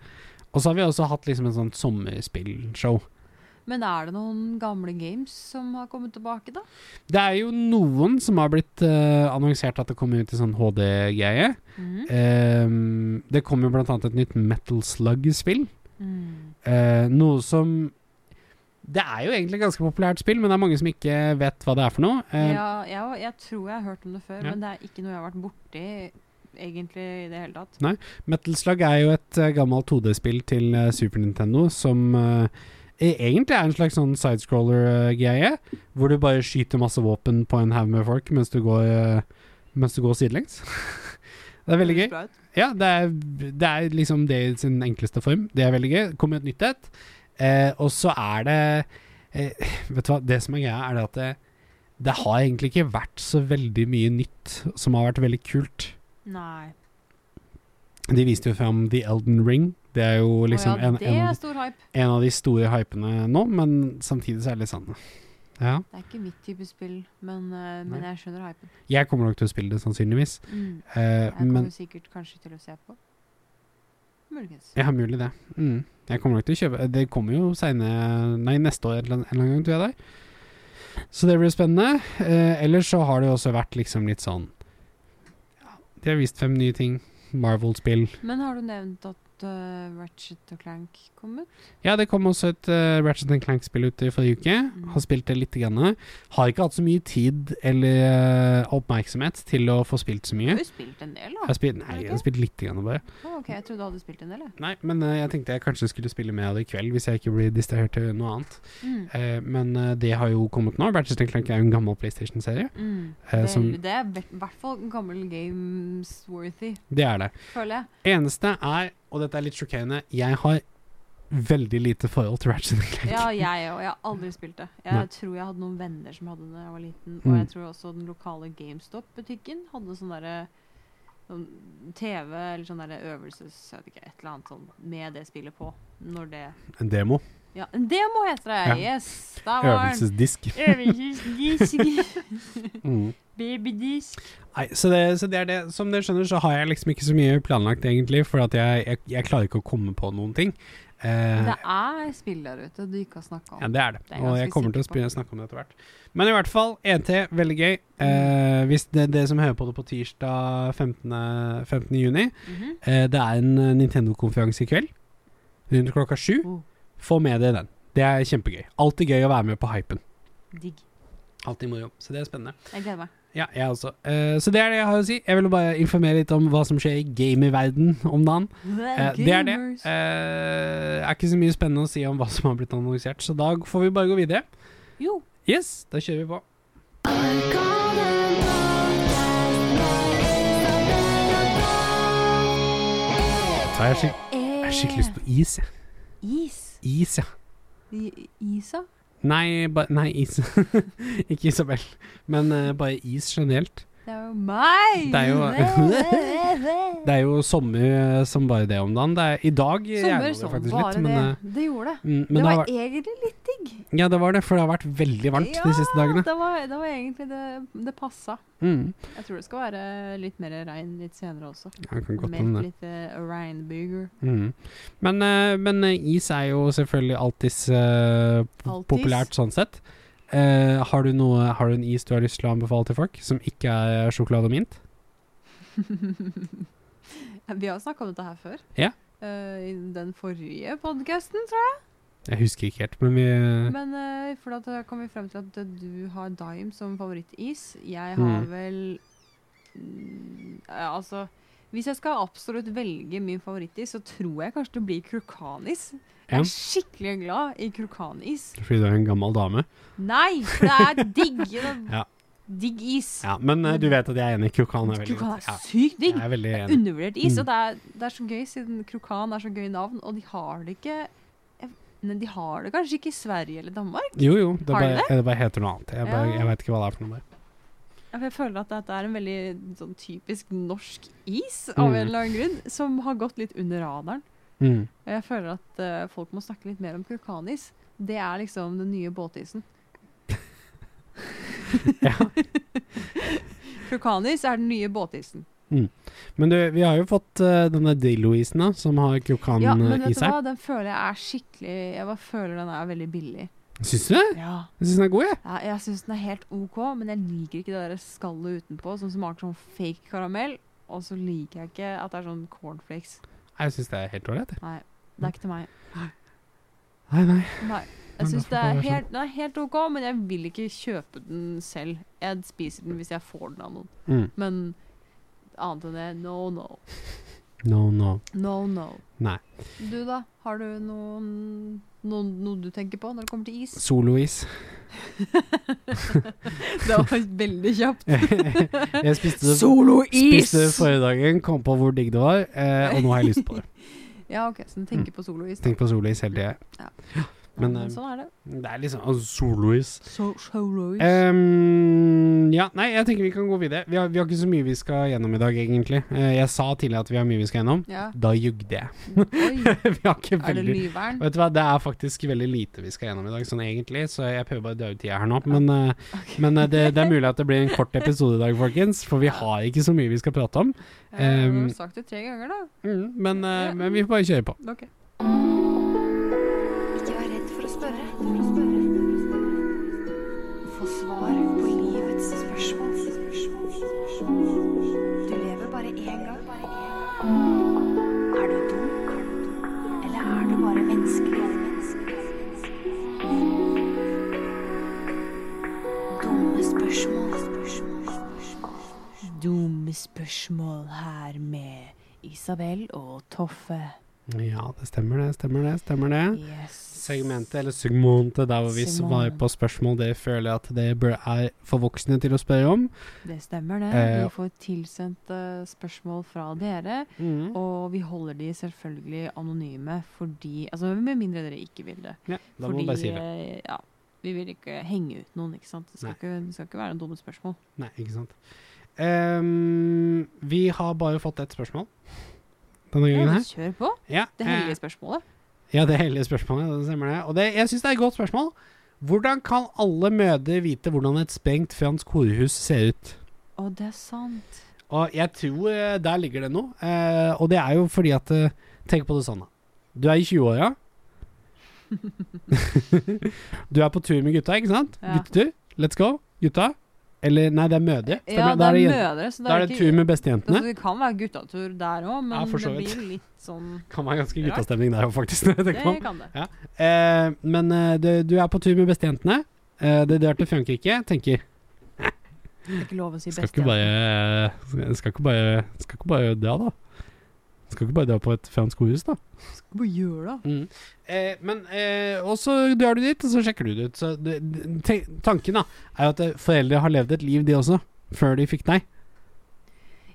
B: Og så har vi også hatt liksom en sånn sommerspillshow.
A: Men er det noen gamle games som har kommet tilbake, da?
B: Det er jo noen som har blitt eh, annonsert at det kommer ut i sånn HD-greie.
A: Mhm.
B: Ehm, det kommer jo blant annet et nytt Metal Slug-spill.
A: Mm.
B: Eh, noe som Det er jo egentlig et ganske populært spill, men det er mange som ikke vet hva det er for noe. Eh,
A: Ja, jeg, jeg tror jeg har hørt om det før,
B: Ja.
A: men det er ikke noe jeg har vært borti egentlig i det hele tatt.
B: Metal Slug er jo et eh, gammelt 2D-spill til eh, Super Nintendo som eh, e- egentlig er en slags sånn sidescroller-greie, hvor du bare skyter masse våpen på en haug med folk mens du går, eh, mens du går sidelengs. det er veldig gøy.
A: Høres bra ut.
B: Ja, det er, det er liksom det i sin enkleste form. Det er veldig gøy. Det Kommer et nytt et. Eh, og så er det eh, Vet du hva, det som er greia, er det at det, det har egentlig ikke vært så veldig mye nytt som har vært veldig kult.
A: Nei.
B: De viste jo fram The Elden Ring. Det er jo liksom
A: Å ja,
B: en,
A: det
B: en,
A: er
B: av,
A: stor hype.
B: de- en av de store hypene nå, men samtidig så er det litt sånn Ja.
A: Det er ikke mitt type spill, men, eh, men
B: Nei.
A: jeg skjønner hypen.
B: Jeg kommer nok til å spille det, sannsynligvis.
A: Mm.
B: Eh,
A: Jeg kommer
B: men
A: sikkert kanskje til å se på. Muligens.
B: Ja, mulig det. Mm. Jeg kommer nok til å kjøpe Det kommer jo senere Nei, neste år en eller annen- en eller annen gang, tror jeg det er. Så det blir spennende. Eh, ellers så har det jo også vært liksom litt sånn ja, De har vist fem nye ting. Marvel-spill.
A: Men har du nevnt at eh, Ratchet og Clank kom ut?
B: Ja, det kom også et eh, Ratchet Clank-spill ut i forrige
A: Mm.
B: uke. Har spilt det lite grann. Har ikke hatt så mye tid eller eh, oppmerksomhet til å få spilt så
A: Du
B: mye.
A: har jo spilt en del,
B: Jeg
A: da.
B: har spilt, nei, jeg har spilt lite grann bare.
A: Å, ok, jeg trodde du hadde spilt en del, jeg.
B: Nei, men eh, jeg tenkte jeg kanskje skulle spille med av det i kveld, hvis jeg ikke blir distrahert til noe annet.
A: Mm.
B: Eh, men eh, det har jo kommet nå. Ratchet Clank er jo en gammel PlayStation-serie.
A: Mm.
B: Eh,
A: Det,
B: som-
A: det er i hvert fall gammel games-worthy,
B: Det er det.
A: føler jeg.
B: Eneste er, og dette er litt sjokkerende, jeg har veldig lite forhold til Ratchet Clank.
A: Ja, jeg òg. Jeg har aldri spilt det. Jeg
B: Nei.
A: tror jeg hadde noen venner som hadde det da jeg var liten. Og
B: Mm.
A: jeg tror også den lokale GameStop-butikken hadde sånn derre sånn TV eller sånn derre øvelses... Jeg vet ikke, et eller annet sånn med det spillet på. Når det
B: En demo.
A: Ja, en demo heter det!
B: Ja.
A: Yes! Der var den!
B: Øvelsesdisk.
A: Øvelsesdisk.
B: Mm.
A: Babydisk.
B: Nei, så det, så det er det. Som dere skjønner, så har jeg liksom ikke så mye planlagt, egentlig, for at jeg, jeg, jeg klarer ikke å komme på noen ting. Eh,
A: Det er spill der ute du ikke har snakka
B: Ja,
A: om.
B: det er det.
A: Det er jeg
B: og jeg
A: ganske
B: kommer til å
A: sikker på.
B: spille, snakke om det etter hvert. Men i hvert fall, ET, veldig gøy.
A: Mm.
B: Eh, hvis det er det som hører på det på tirsdag 15. 15. juni,
A: Mhm.
B: eh, det er en eh, Nintendo-konferanse i kveld. Rundt klokka sju.
A: Oh.
B: Få med deg den. Det er kjempegøy. Alltid gøy å være med på hypen.
A: Digg.
B: Alltid moro. Så det er spennende.
A: Jeg gleder meg.
B: Ja, jeg også. Eh, så det er det jeg har å si. Jeg ville bare informere litt om hva som skjer i gamerverden om dagen. Eh, det er det.
A: Gamers.
B: Eh, er ikke så mye spennende å si om hva som har blitt annonsert, så da får vi bare gå videre.
A: Jo.
B: Yes, da kjører vi på. Da har jeg, skik jeg har skikkelig lyst på is. jeg.
A: Is.
B: Is, ja.
A: I- Isa?
B: Nei, ba nei is. ikke Isabel. Men eh, bare is generelt.
A: Det er jo meg!
B: Det er jo- Det er jo sommer eh, som bare det om dagen. Det er i dag eh, regner
A: Sommer
B: det
A: som
B: faktisk
A: bare
B: litt, men, eh,
A: det. Det gjorde det.
B: mm, men
A: det
B: det
A: var
B: har vært,
A: egentlig litt digg.
B: Ja, det var det, for det har vært veldig varmt de siste dagene.
A: Det var, det var egentlig det det passa.
B: Mm.
A: Jeg tror det skal være litt mer regn litt senere også.
B: Ja, det kan godt
A: Med
B: hende det.
A: litt eh, regnbyger.
B: Mm. Men, eh, men eh, is er jo selvfølgelig alltids eh,
A: Alltids.
B: populært sånn sett. Eh, har, du noe, har du en is du har lyst til å anbefale til folk, som ikke er sjokolade og mint?
A: Vi har jo snakka om dette her før.
B: Ja.
A: Eh, I den forrige podkasten, tror jeg.
B: Jeg husker ikke helt, men vi
A: Men eh, for at da kom vi frem til at eh, du har Dime som favorittis. Jeg
B: Mm.
A: har vel mm, eh, Altså Hvis jeg skal absolutt velge min favorittis, så tror jeg kanskje det blir Krukanis. Jeg er skikkelig glad i krokanis.
B: Fordi du er en gammel dame.
A: Nei, det er digg! Det er
B: Ja.
A: Digg is.
B: Ja, men eh, du vet at jeg er enig. Krokan er veldig
A: Krokan
B: godt.
A: er
B: Ja,
A: sykt digg.
B: jeg er veldig enig. Mm.
A: Undervurdert is. Og det er, det er så gøy, siden krokan er så gøy navn, og de har det ikke jeg- Nei, De har det kanskje ikke i Sverige eller Danmark?
B: Jo, jo. Det
A: Har
B: bare,
A: du
B: det bare heter noe annet. Jeg, bare,
A: Ja.
B: jeg vet ikke hva det er for noe. Bare.
A: Ja, for Jeg føler at dette er en veldig sånn typisk norsk is, av en
B: Mm.
A: eller annen grunn, som har gått litt under radaren.
B: Mm.
A: Og Jeg føler at eh, folk må snakke litt mer om krokanis. Det er liksom den nye båtisen. Krokanis er den nye båtisen.
B: Men du, vi har jo fått eh, denne Drillo-isen, da, som har krokan
A: Ja, men
B: eh, i
A: vet du
B: seg.
A: hva? Den føler jeg er skikkelig Jeg bare føler den er veldig billig.
B: Syns du det?
A: Ja.
B: Jeg syns den er god, jeg.
A: Ja, jeg syns den er helt OK, men jeg liker ikke det der skallet utenpå som smaker sånn fake karamell. Og så liker jeg ikke at det er sånn cornflakes.
B: Jeg syns det er helt ålreit. jeg.
A: Det er ikke til meg.
B: Nei, nei.
A: Nei.
B: Men
A: Jeg syns
B: da får det
A: det er
B: være sånn.
A: helt, den er helt OK, men jeg vil ikke kjøpe den selv. Jeg spiser den hvis jeg får den av noen.
B: Mm.
A: Men annet enn det, no no.
B: No, no.
A: No no.
B: Nei.
A: Du da? Har du noen, noen, noe du tenker på når det kommer til is?
B: Solois.
A: Det var veldig kjapt.
B: jeg spiste det,
A: Solois!
B: spiste det forrige dagen, kom på hvor digg det var, eh, og nå har jeg lyst på det.
A: Ja, OK, så den tenker på solois. da.
B: Mm. Tenk på solois hele tida.
A: Ja,
B: men,
A: men
B: eh,
A: sånn er det.
B: Det er liksom altså, Solois.
A: So solois.
B: Eh, Ehm, ja, nei, jeg tenker vi kan gå videre. Vi har, vi har ikke så mye vi skal gjennom i dag, egentlig. Eh, jeg sa tidligere at vi har mye vi skal gjennom.
A: ja.
B: Da ljugde jeg.
A: Oi,
B: vi har ikke
A: er det
B: veldig
A: lyveren?
B: Vet du hva, det er faktisk veldig lite vi skal gjennom i dag, sånn egentlig, så jeg prøver bare å dø ut tida her nå. Men, eh, men eh, det, det er mulig at det blir en kort episode i dag, folkens, for vi har ikke så mye vi skal prate om.
A: Ja, Du
B: ehm,
A: Eh, har sagt det tre ganger, da.
B: Mm, men, eh, men vi får bare kjøre på.
A: OK.
C: Ikke vær redd for å spørre. For å spørre. Få svar på livets spørsmål. Du lever bare én gang. Er du dum, eller er du bare menneskelig? Dumme spørsmål.
A: Dumme spørsmål her med Isabel og Toffe.
B: Ja, det stemmer det, stemmer det, stemmer det.
A: Yes.
B: Segmentet, eller segmentet der hvor vi
A: Segment.
B: svarer på spørsmål dere føler at dere bør- er for voksne til å spørre om.
A: Det stemmer, det.
B: Eh,
A: Vi får tilsendt eh, spørsmål fra dere. Og vi holder de selvfølgelig anonyme fordi Altså med mindre dere ikke vil det.
B: Ja, da må
A: fordi
B: man bare si det.
A: eh, ja, vi vil ikke henge ut noen, ikke sant. Det skal,
B: Nei.
A: ikke, det skal ikke være noen dumme spørsmål.
B: Nei, ikke sant. Ehm, vi har bare fått ett spørsmål denne
A: Ja,
B: gangen
A: men
B: her.
A: kjør på.
B: Ja,
A: Det
B: eh,
A: hellige spørsmålet.
B: Ja, det hellige spørsmålet. Det stemmer det. Og det, jeg syns det er et godt spørsmål. Hvordan kan alle mødre vite hvordan et sprengt fransk horehus ser ut?
A: Å, det er sant.
B: Og jeg tror eh, der ligger det noe. Eh, og det er jo fordi at eh, Tenk på det sånn, da. Du er i 20-åra. du er på tur med gutta, ikke sant?
A: Ja.
B: Guttetur. Let's go, gutta. Eller nei, det er mødre.
A: Ja,
B: Stemmer
A: det er
B: jen-
A: mødre, så det
B: da
A: er,
B: er det
A: ikke
B: tur med bestejentene.
A: altså, Det kan være guttatur der òg, men
B: Ja, for så
A: det
B: vidt.
A: blir litt sånn
B: Kan være ganske
A: Rart.
B: guttastemning der òg, faktisk. Når jeg
A: Det
B: tenker på.
A: kan det.
B: det. Eh, men eh, du, du er på tur med bestejentene. Eh, det drar til Frankrike. Tenker
A: Det er ikke lov å si
B: Skal ikke
A: best.
B: bare eh, Skal ikke bare, skal ikke bare dra, da? Skal ikke bare dra på et fransk horehus, da?
A: Hva gjør da?
B: Mm. Eh, men eh, Og så drar du dit, og så sjekker du det ut. Så det, det- te, tanken da er jo at eh, foreldre har levd et liv, de også, før de fikk deg.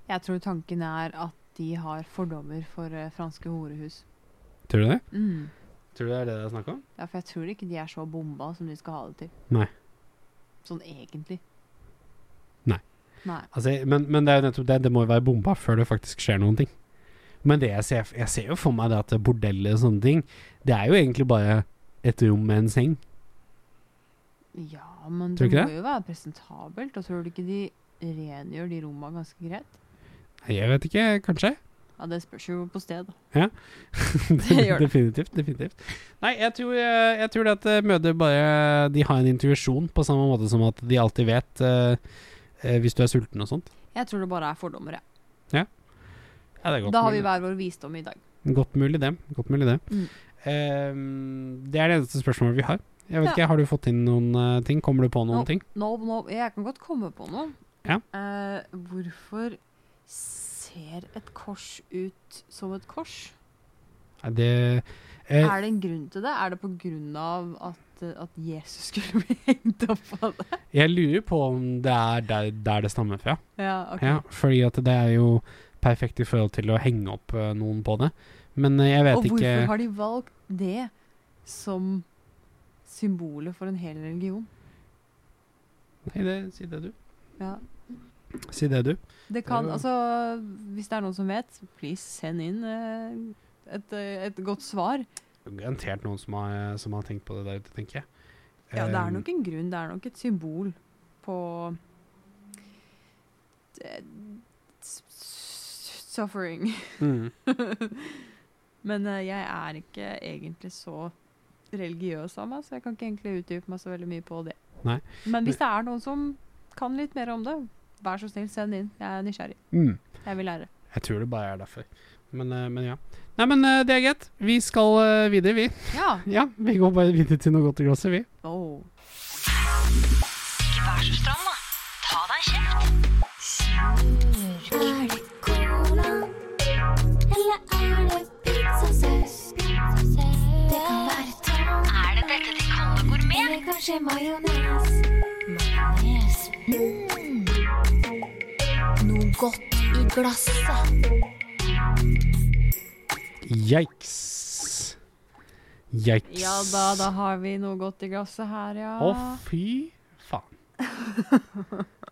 A: Jeg tror tanken er at de har fordommer for eh, franske horehus.
B: Tror du det?
A: Mm.
B: Tror du det er det det er snakk om?
A: Ja, for jeg tror ikke de er så bomba som de skal ha det til.
B: Nei.
A: Sånn egentlig.
B: Nei.
A: Nei.
B: Altså, jeg- men, men det er jo nettopp det. Det må jo være bomba før det faktisk skjer noen ting. Men det jeg ser, jeg ser jo for meg det at bordeller og sånne ting, det er jo egentlig bare et rom med en seng.
A: Ja, men
B: Tror
A: det
B: du ikke
A: må jo være presentabelt. Og tror du ikke de rengjør de romma ganske greit?
B: Nei, Jeg vet ikke, kanskje?
A: Ja, det spørs jo på sted.
B: Det
A: gjør det.
B: definitivt. definitivt. Nei, jeg tror, eh, jeg tror det at eh, mødre bare De har en intuisjon, på samme måte som at de alltid vet eh, eh, hvis du er sulten og sånt.
A: Jeg tror det bare er fordommer, ja.
B: Ja, det er
A: Da har vi hver vår visdom i dag.
B: Godt mulig det. Godt mulig det.
A: Mm.
B: Eh, det er det eneste spørsmålet vi har. Jeg vet
A: Ja.
B: ikke, Har du fått inn noen eh, ting? Kommer du på noen
A: Nope.
B: ting?
A: Nå, nå, jeg kan godt komme på noe.
B: Ja.
A: Eh, hvorfor ser et kors ut som et kors?
B: Nei, det eh,
A: Er det en grunn til det? Er det på grunn av at, eh, at Jesus skulle bli hengt opp på det?
B: Jeg lurer på om det er der, der det stammer fra.
A: Ja, ok.
B: Ja, fordi at det er jo perfekt i forhold til å henge opp eh, noen på det. Men eh, jeg
A: Og
B: vet
A: hvorfor
B: ikke
A: har de valgt det som symbolet for en hel religion?
B: Nei, det, si det, du.
A: Ja.
B: Si det, du.
A: Det kan,
B: jo-
A: altså, hvis det er noen som vet, please send inn eh, et, eh, et godt svar.
B: Det er Garantert noen som har, som har tenkt på det der ute, tenker jeg.
A: Ja, det
B: Eh,
A: er nok en grunn, det er nok et symbol på eh, s- s- suffering.
B: mm.
A: Men eh, jeg er ikke egentlig så religiøs av meg, så jeg kan ikke egentlig utdype meg så veldig mye på det.
B: Nei.
A: Men hvis det er noen som kan litt mer om det, vær så snill, send inn. Jeg er nysgjerrig.
B: Mm.
A: Jeg vil lære.
B: Jeg tror det bare er derfor. Men, eh, men ja. Nei, men eh, det er greit. Vi skal eh, videre, vi.
A: Ja.
B: Ja, vi går bare videre til noe godt i glasset, vi.
A: Oh.
C: Ikke vær så stram, da. Ta deg en kjeft.
D: Er det cola? Eller er det pizzasaus? Det kan være Mm. tang,
C: Er det dette de kaller gourmet?
D: eller kanskje majones. Majones. Mm. Noe Mm. godt i glasset.
B: Yikes. Yikes.
A: Ja da, da har vi noe godt i glasset her, ja.
B: Å, fy faen.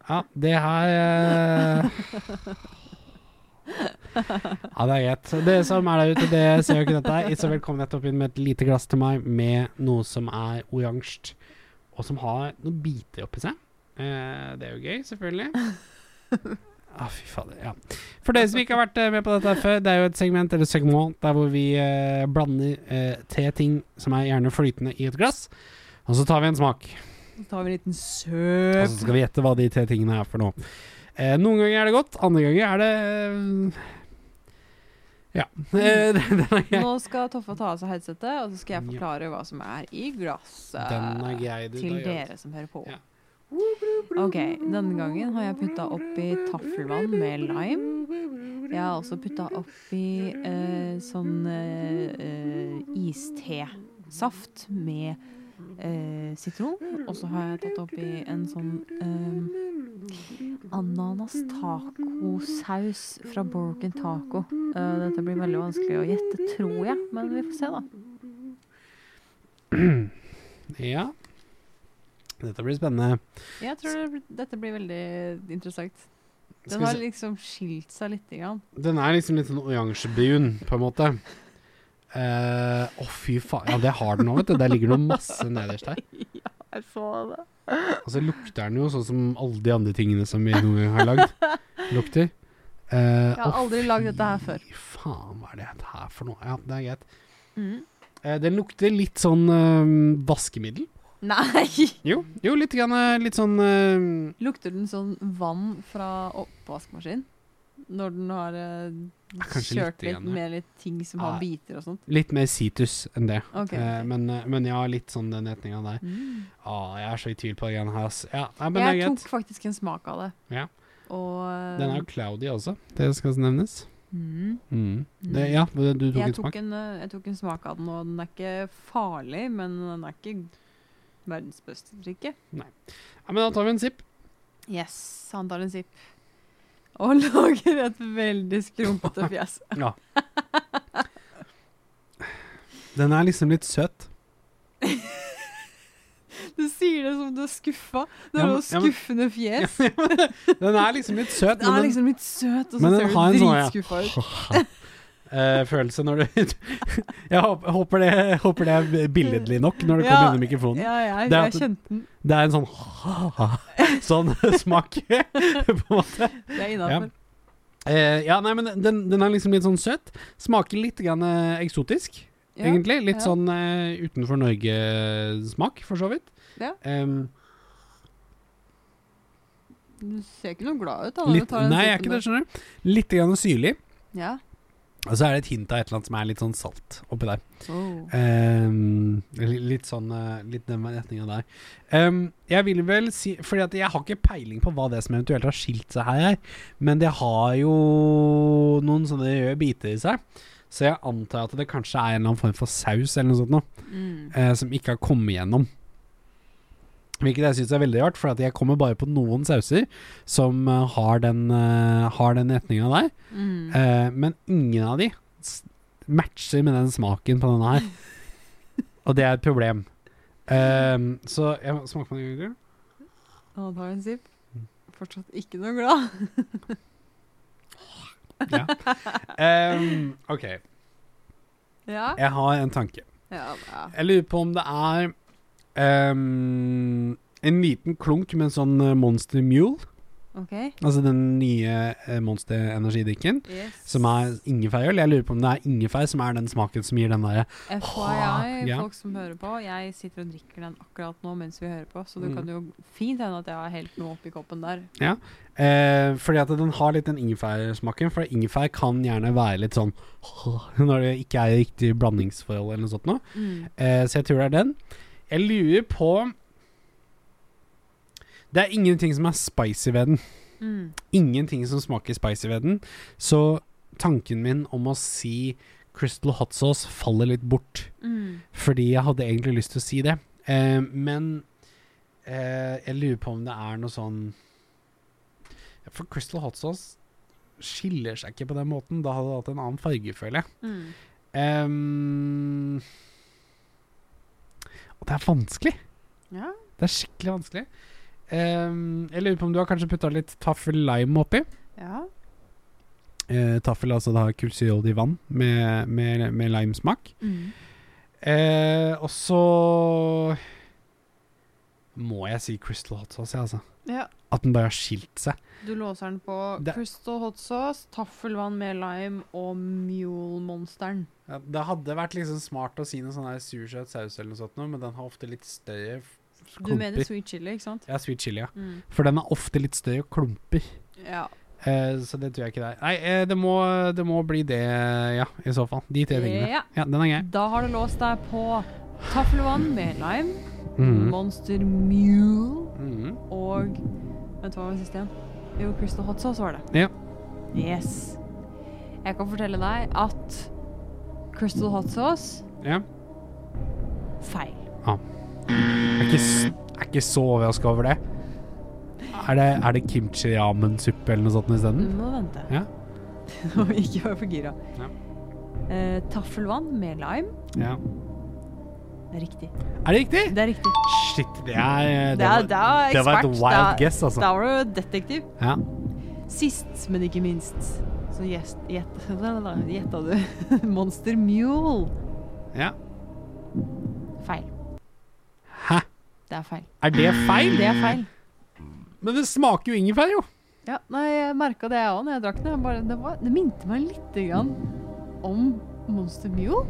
B: Ja, det her eh, Ja, det er greit. Det som er der ute, det ser jo ikke dette her. Isabel kom nettopp inn med et lite glass til meg med noe som er oransje, og som har noen biter oppi seg. Eh, det er jo gøy, selvfølgelig. Ah, fy fader, ja. For dere som ikke har vært eh, med på dette her før, det er jo et segment eller segment der hvor vi eh, blander eh, tre ting som er gjerne flytende i et glass, og så tar vi en smak.
A: Så tar vi en
B: Og
A: liten søp.
B: så skal vi gjette hva de tre tingene er for noe. Eh, noen ganger er det godt, andre ganger er det eh, Ja.
A: Mm.
B: Eh, den er grei.
A: Nå skal Toffe ta av seg headsetet, og så skal jeg
B: Ja.
A: forklare hva som er i glasset.
B: Den er grei, du.
A: til
B: da gjør vi
A: dere som hører på.
B: Ja.
A: Ok, denne gangen har jeg putta oppi taffelvann med lime. Jeg har også putta oppi eh, sånn eh, eh, iste-saft med eh, sitron. Og så har jeg tatt oppi en sånn eh, ananas-tacosaus fra Borken Taco. Eh, dette blir veldig vanskelig å gjette, tror jeg, men vi får se, da.
B: det. Ja. Dette blir spennende.
A: Jeg tror det blir- dette blir veldig interessant.
B: Skal
A: Den
B: vi
A: har
B: se.
A: liksom skilt seg lite grann.
B: Den er liksom litt sånn oransjebrun, på en måte. Eh, Å, fy faen. Ja, det har den nå, vet du. Der ligger det masse nederst der.
A: Jeg så det.
B: Og så lukter den jo sånn som alle de andre tingene som vi noen gang har lagd, lukter. Eh,
A: Jeg har
B: å,
A: aldri lagd dette her før.
B: Fy faen, hva er det her for noe? Ja, det er greit.
A: Mm.
B: Eh, den lukter litt sånn eh, vaskemiddel.
A: Nei!
B: Jo, jo litt, grann, eh, litt sånn eh,
A: Lukter den sånn vann fra oppvaskmaskin? Når den har eh,
B: kanskje
A: kjørt
B: lite
A: litt,
B: grann, ja.
A: med litt ting som har
B: Ja.
A: biter og sånt?
B: Litt mer situs enn det.
A: Ok,
B: Eh,
A: ok.
B: men, eh, men ja, litt sånn den retninga der.
A: Mm.
B: Å, jeg er så i tvil på den her, ass. Ja, nei, men det er
A: Jeg
B: greit.
A: tok faktisk en smak av det.
B: Ja.
A: Og eh,
B: Den er jo cloudy også, det skal nevnes.
A: mm.
B: Mm. Det, ja, du du tok
A: jeg,
B: en
A: tok
B: smak.
A: en, eh, jeg tok en smak av den, og den er ikke farlig, men den er ikke verdens beste drikke.
B: Ja, men da tar vi en sipp.
A: Yes, han tar en sipp. Og lager et veldig skrumpete fjes.
B: Den er liksom litt søt.
A: Du sier det som du er skuffa. Du
B: Ja,
A: har
B: men-
A: noe
B: ja, men-
A: skuffende fjes.
B: Den er liksom litt søt,
A: Den
B: men
A: er
B: den
A: liksom litt søt, og så
B: men den
A: ser
B: har
A: du
B: en sånn, ja.
A: dritskuffa ut.
B: Eh, følelse når du Jeg håper, håper, det, håper det er billedlig nok når det
A: Ja,
B: kommer under mikrofonen.
A: Ja, jeg,
B: Det er
A: jeg
B: at-
A: kjente den.
B: Det er en sånn sånn smak, på en måte.
A: Det er innafor.
B: Eh, ja, nei, men den, den er liksom litt sånn søt. Smaker litt grann, eh, eksotisk,
A: Ja.
B: egentlig. Litt
A: ja.
B: sånn eh, utenfor Norge-smak, for så vidt.
A: Ja.
B: Em,
A: Du ser ikke noe glad ut. da.
B: litt, nei, jeg er ikke det, skjønner du. Litt grann syrlig.
A: Ja.
B: Og så er det et hint av et eller annet som er litt sånn salt oppi der.
A: Oh.
B: Ehm, li- litt sånn eh, Litt den retninga der. Ehm, jeg vil vel si Fordi at jeg har ikke peiling på hva det er som eventuelt har skilt seg her, er, men det har jo noen sånne røde biter i seg. Så jeg antar at det kanskje er en eller annen form for saus eller noe sånt nå,
A: Mm.
B: eh, som ikke har kommet gjennom. Hvilket jeg syns er veldig rart, for at jeg kommer bare på noen sauser som eh, har den, eh, har den retninga der.
A: Mm.
B: Eh, men ingen av de s- matcher med den smaken på denne her. Og det er et problem. Ehm, så jeg må- smaker på den Google.
A: Han tar en sipp.
B: Mm.
A: Fortsatt ikke noe glad.
B: Ja. Ehm, OK,
A: Ja.
B: jeg har en tanke.
A: Ja, ja.
B: Jeg lurer på om det er ehm, en liten klunk med en sånn eh, Monster Mule.
A: OK.
B: Altså den nye eh, Monster energidrikken.
A: Yes.
B: Som er ingefærøl. Jeg lurer på om det er ingefær som er den smaken som gir den derre
A: FYI,
B: Ja.
A: folk som hører på. Jeg sitter og drikker den akkurat nå mens vi hører på, så det
B: Mm.
A: kan jo fint hende at jeg har helt noe oppi koppen der.
B: Eh, fordi at den har litt den ingefærsmaken, for ingefær kan gjerne være litt sånn når det ikke er riktig blandingsforhold eller noe sånt noe.
A: Mm.
B: Eh, så jeg tror det er den. Jeg lurer på Det er ingenting som er spicy ved den.
A: Mm.
B: Ingenting som smaker spicy ved den. Så tanken min om å si Crystal Hot Sauce faller litt bort.
A: Mm.
B: Fordi jeg hadde egentlig lyst til å si det. Eh, men eh, jeg lurer på om det er noe sånn Ja, For Crystal Hot Sauce skiller seg ikke på den måten. Da hadde det hatt en annen farge, føler jeg.
A: Mm.
B: Ehm, og det er vanskelig.
A: Ja.
B: Det er skikkelig vanskelig. Ehm, jeg lurer på om du har kanskje putta litt taffel lime oppi.
A: ja.
B: Eh, taffel altså det har kullsyreholdig vann med, med, med limesmak.
A: Mm.
B: Eh, og så må jeg si Crystal Hot Sauce, jeg, altså.
A: ja.
B: At den bare har skilt seg.
A: Du låser den på
B: Det-
A: Crystal Hot Sauce, taffelvann med lime og Mule-monsteren.
B: Ja, det hadde væt liksom smart å si noe sånn her sursøt saus eller noe sånt, noe, men den har ofte litt større f-
A: Du mener sweet chili, ikke sant?
B: Ja, sweet chili, ja.
A: Mm.
B: For den er ofte litt større og klumper.
A: Ja.
B: Eh, så det tror jeg ikke det er. Nei, eh, det, må, det må bli det, ja, i så fall. De tre tingene.
A: Ja.
B: Ja, den er grei.
A: Da har du låst deg på taffelvann med lime,
B: Mhm.
A: Monster Mule
B: Mhm.
A: og Vent, hva var den siste igjen? Jo, Crystal Hot Sauce var det.
B: Ja.
A: Yes. Jeg kan fortelle deg at Crystal Hot Sauce
B: ja.
A: feil.
B: Jeg er ikke, s- jeg er ikke så overraska over det. Er det, er det kimchi ramen-suppe eller noe sånt
A: Du
B: isteden?
A: må vente.
B: Ja.
A: Og ikke være for gira.
B: Ja.
A: Eh, taffelvann med lime.
B: Ja.
A: Det er riktig.
B: Er det riktig?
A: Det er riktig.
B: Shit, det er
A: Det er- det er
B: det var et
A: ekspert.
B: wild
A: Det er-
B: guess, altså.
A: Da var du detektiv.
B: Ja.
A: Sist, men ikke minst, så gjest- gjett- gjetta du Monster Mule.
B: ja.
A: Feil.
B: Hæ?
A: Det er feil.
B: Er det feil?
A: Det er feil.
B: Men det smaker jo ingefær, jo.
A: Ja, nei, jeg merka det jeg òg når jeg drakk den. Jeg bare, det, var, det minte meg lite grann om Monster Mule.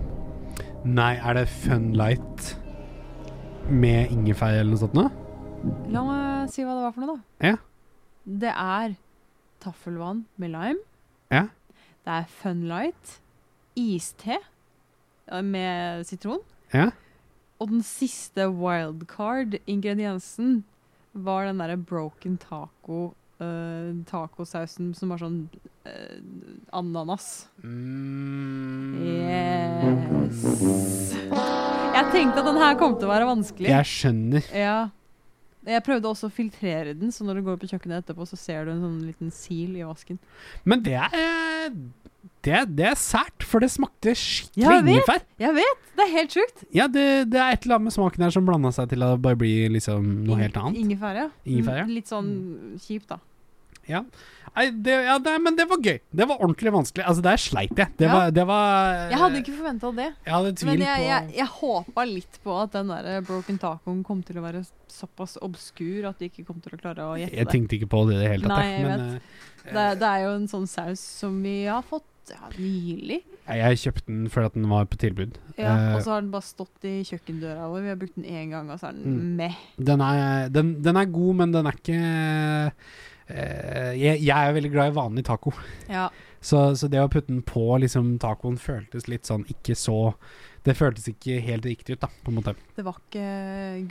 B: Nei, er det Fun Light med ingefær eller noe sånt nå?
A: La meg si hva det var for noe, da.
B: Ja.
A: Det er taffelvann med lime.
B: Ja.
A: Det er Funlight. Iste eh, med sitron.
B: Ja.
A: Og den siste wildcard-ingrediensen var den derre broken taco eh, tacosausen som var sånn eh, ananas. Mm.
B: Mm.
A: Yes. Jeg tenkte at den her kom til å være vanskelig.
B: Jeg skjønner.
A: Ja. Jeg prøvde også å filtrere den, så når du går på kjøkkenet etterpå, så ser du en sånn liten sil i vasken.
B: Men det er eh, Det er, det er sært, for det smakte skikkelig
A: Jeg vet.
B: ingefær.
A: Jeg vet! Det er helt sjukt.
B: Ja, det, det er et eller annet med smaken her som blanda seg til at det bare blir liksom noe helt annet.
A: Ingefær, ja.
B: Ingefær, ja.
A: Mm, Litt sånn kjipt, da.
B: Ja. Nei, det, ja, det, men det var gøy. Det var ordentlig vanskelig. Altså, der sleit jeg. Det
A: Ja.
B: var, det var
A: Jeg hadde ikke forventa det,
B: Jeg hadde tvil
A: men jeg, jeg,
B: på
A: jeg håpa litt på at den der broken tacoen kom til å være såpass obskur at de ikke kom til å klare å gjette
B: Jeg
A: det.
B: tenkte ikke på det i det hele tatt.
A: Nei, jeg
B: men
A: vet. Det er, det er jo en sånn saus som vi har fått ja, nylig.
B: eh, jeg kjøpte den fordi at den var på tilbud.
A: Ja,
B: Eh,
A: og så har den bare stått i kjøkkendøra vår. Vi har brukt den én gang, og så er den
B: Mm.
A: meh.
B: Den er, den, den er god, men den er ikke eh, jeg, jeg er veldig glad i vanlig taco,
A: Ja.
B: Så, så det å putte den på liksom, tacoen føltes litt sånn ikke så Det føltes ikke helt riktig ut, da, på en måte.
A: Det var ikke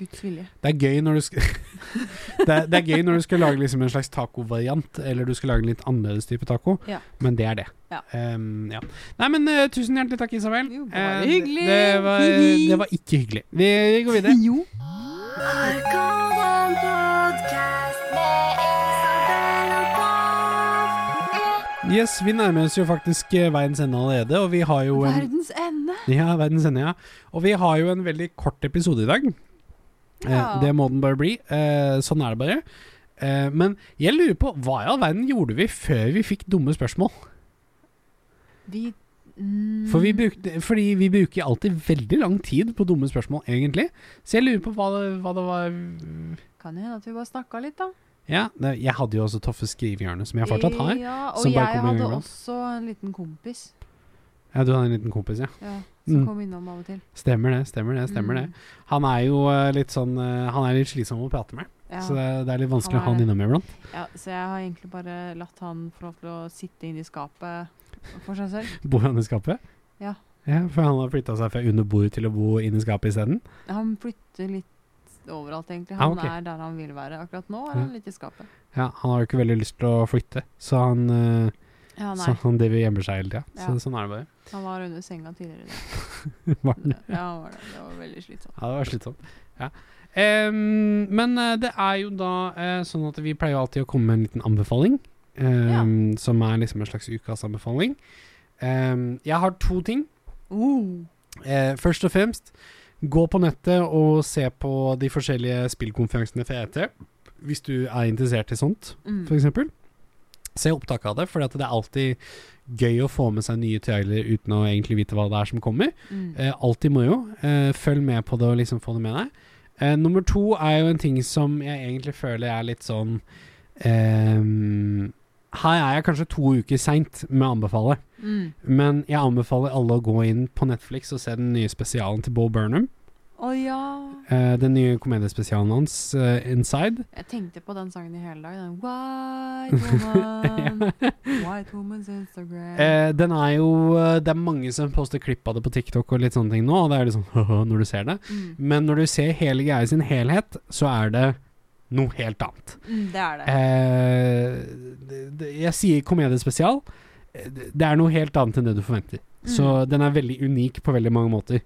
A: Guds vilje.
B: Det er gøy når du skal det, er, det er gøy når du skal lage liksom en slags tacovariant, eller du skal lage en litt annerledes type taco,
A: Ja.
B: men det er det.
A: Ja.
B: Ehm, ja. Nei, men eh, tusen hjertelig takk, Isabel.
A: Jo, det var
B: Eh,
A: hyggelig.
B: Det, det, var,
A: Hihi.
B: det var ikke hyggelig. Vi, vi går videre.
A: Jo.
B: Yes, vi nærmer oss jo faktisk eh, veiens ende allerede, og vi har jo en
A: Verdens ende.
B: Ja, verdens ende, ja. Og vi har jo en veldig kort episode i dag.
A: Ja.
B: Eh, det må den bare bli. Eh, sånn er det bare. Eh, men jeg lurer på, hva i all verden gjorde vi før vi fikk dumme spørsmål?
A: Vi mm,
B: For vi brukte, fordi vi bruker alltid veldig lang tid på dumme spørsmål, egentlig. Så jeg lurer på hva det, hva det var
A: Kan jo hende at vi bare snakka litt, da.
B: Ja, det, jeg hadde jo også tøffe skrivehjørne, som jeg fortsatt har.
A: Ja, og
B: som
A: jeg
B: bare kommer en gang
A: hadde
B: iblant.
A: også en liten kompis
B: Ja, du hadde en liten kompis, ja.
A: ja, som
B: Mm.
A: kom innom av og til.
B: Stemmer det, stemmer det. stemmer
A: Mm.
B: det. Han er jo eh, litt sånn eh, Han er litt slitsom å prate med,
A: Ja.
B: så det, det er litt vanskelig å
A: Han
B: ha
A: er
B: han
A: det.
B: innom iblant.
A: Ja, så jeg har egentlig bare latt han få lov til å sitte inne i skapet for seg selv.
B: Bor han i skapet?
A: Ja.
B: Ja, For han har flytta seg fra under bordet til å bo inni skapet isteden?
A: Han flytter litt overalt, egentlig.
B: Ah,
A: Han
B: ok.
A: er der han vil være. Akkurat nå
B: Ja.
A: er han litt i skapet.
B: Ja, han har jo ikke veldig lyst til å flytte, så han, eh,
A: Ja,
B: så
A: nei.
B: han driver og gjemmer seg hele tida.
A: Ja.
B: Så, sånn er det bare.
A: Han var under senga tidligere i dag.
B: Var han-
A: Ja, han var det. Det var veldig slitsomt.
B: Ja, det var slitsomt. Ja. Ehm, men eh, det er jo da eh, sånn at vi pleier jo alltid å komme med en liten anbefaling, ehm, som er liksom en slags ukas anbefaling. Ehm, jeg har to ting.
A: Uh,
B: Eh, først og fremst, gå på nettet og se på de forskjellige spillkonferansene fra ET, hvis du er interessert i sånt
A: mm.
B: for eksempel. Se opptak av det, for det er alltid gøy å få med seg nye trailere uten å egentlig vite hva det er som kommer.
A: Mm.
B: Eh, alltid moro. Eh, følg med på det og liksom få det med deg. Eh, nummer to er jo en ting som jeg egentlig føler er litt sånn ehm, Her er jeg kanskje to uker seint med å anbefale,
A: Mm.
B: men jeg anbefaler alle å gå inn på Netflix og se den nye spesialen til Bo Burnham.
A: Å ja.
B: Eh, den nye komediespesialen hans, eh, Inside.
A: Jeg tenkte på den sangen i hele dag. Den White woman. White woman's Instagram.
B: Eh, den er jo eh, Det er mange som poster klipp av det på TikTok og litt sånne ting nå, og det er litt sånn haha når du ser det.
A: Mm.
B: Men når du ser hele greia i sin helhet, så er det noe helt annet.
A: Mm, det er det.
B: Eh, det- det- jeg sier komediespesial. Eh, Det det er noe helt annet enn det du forventer.
A: Mm.
B: Så den er veldig unik på veldig mange måter.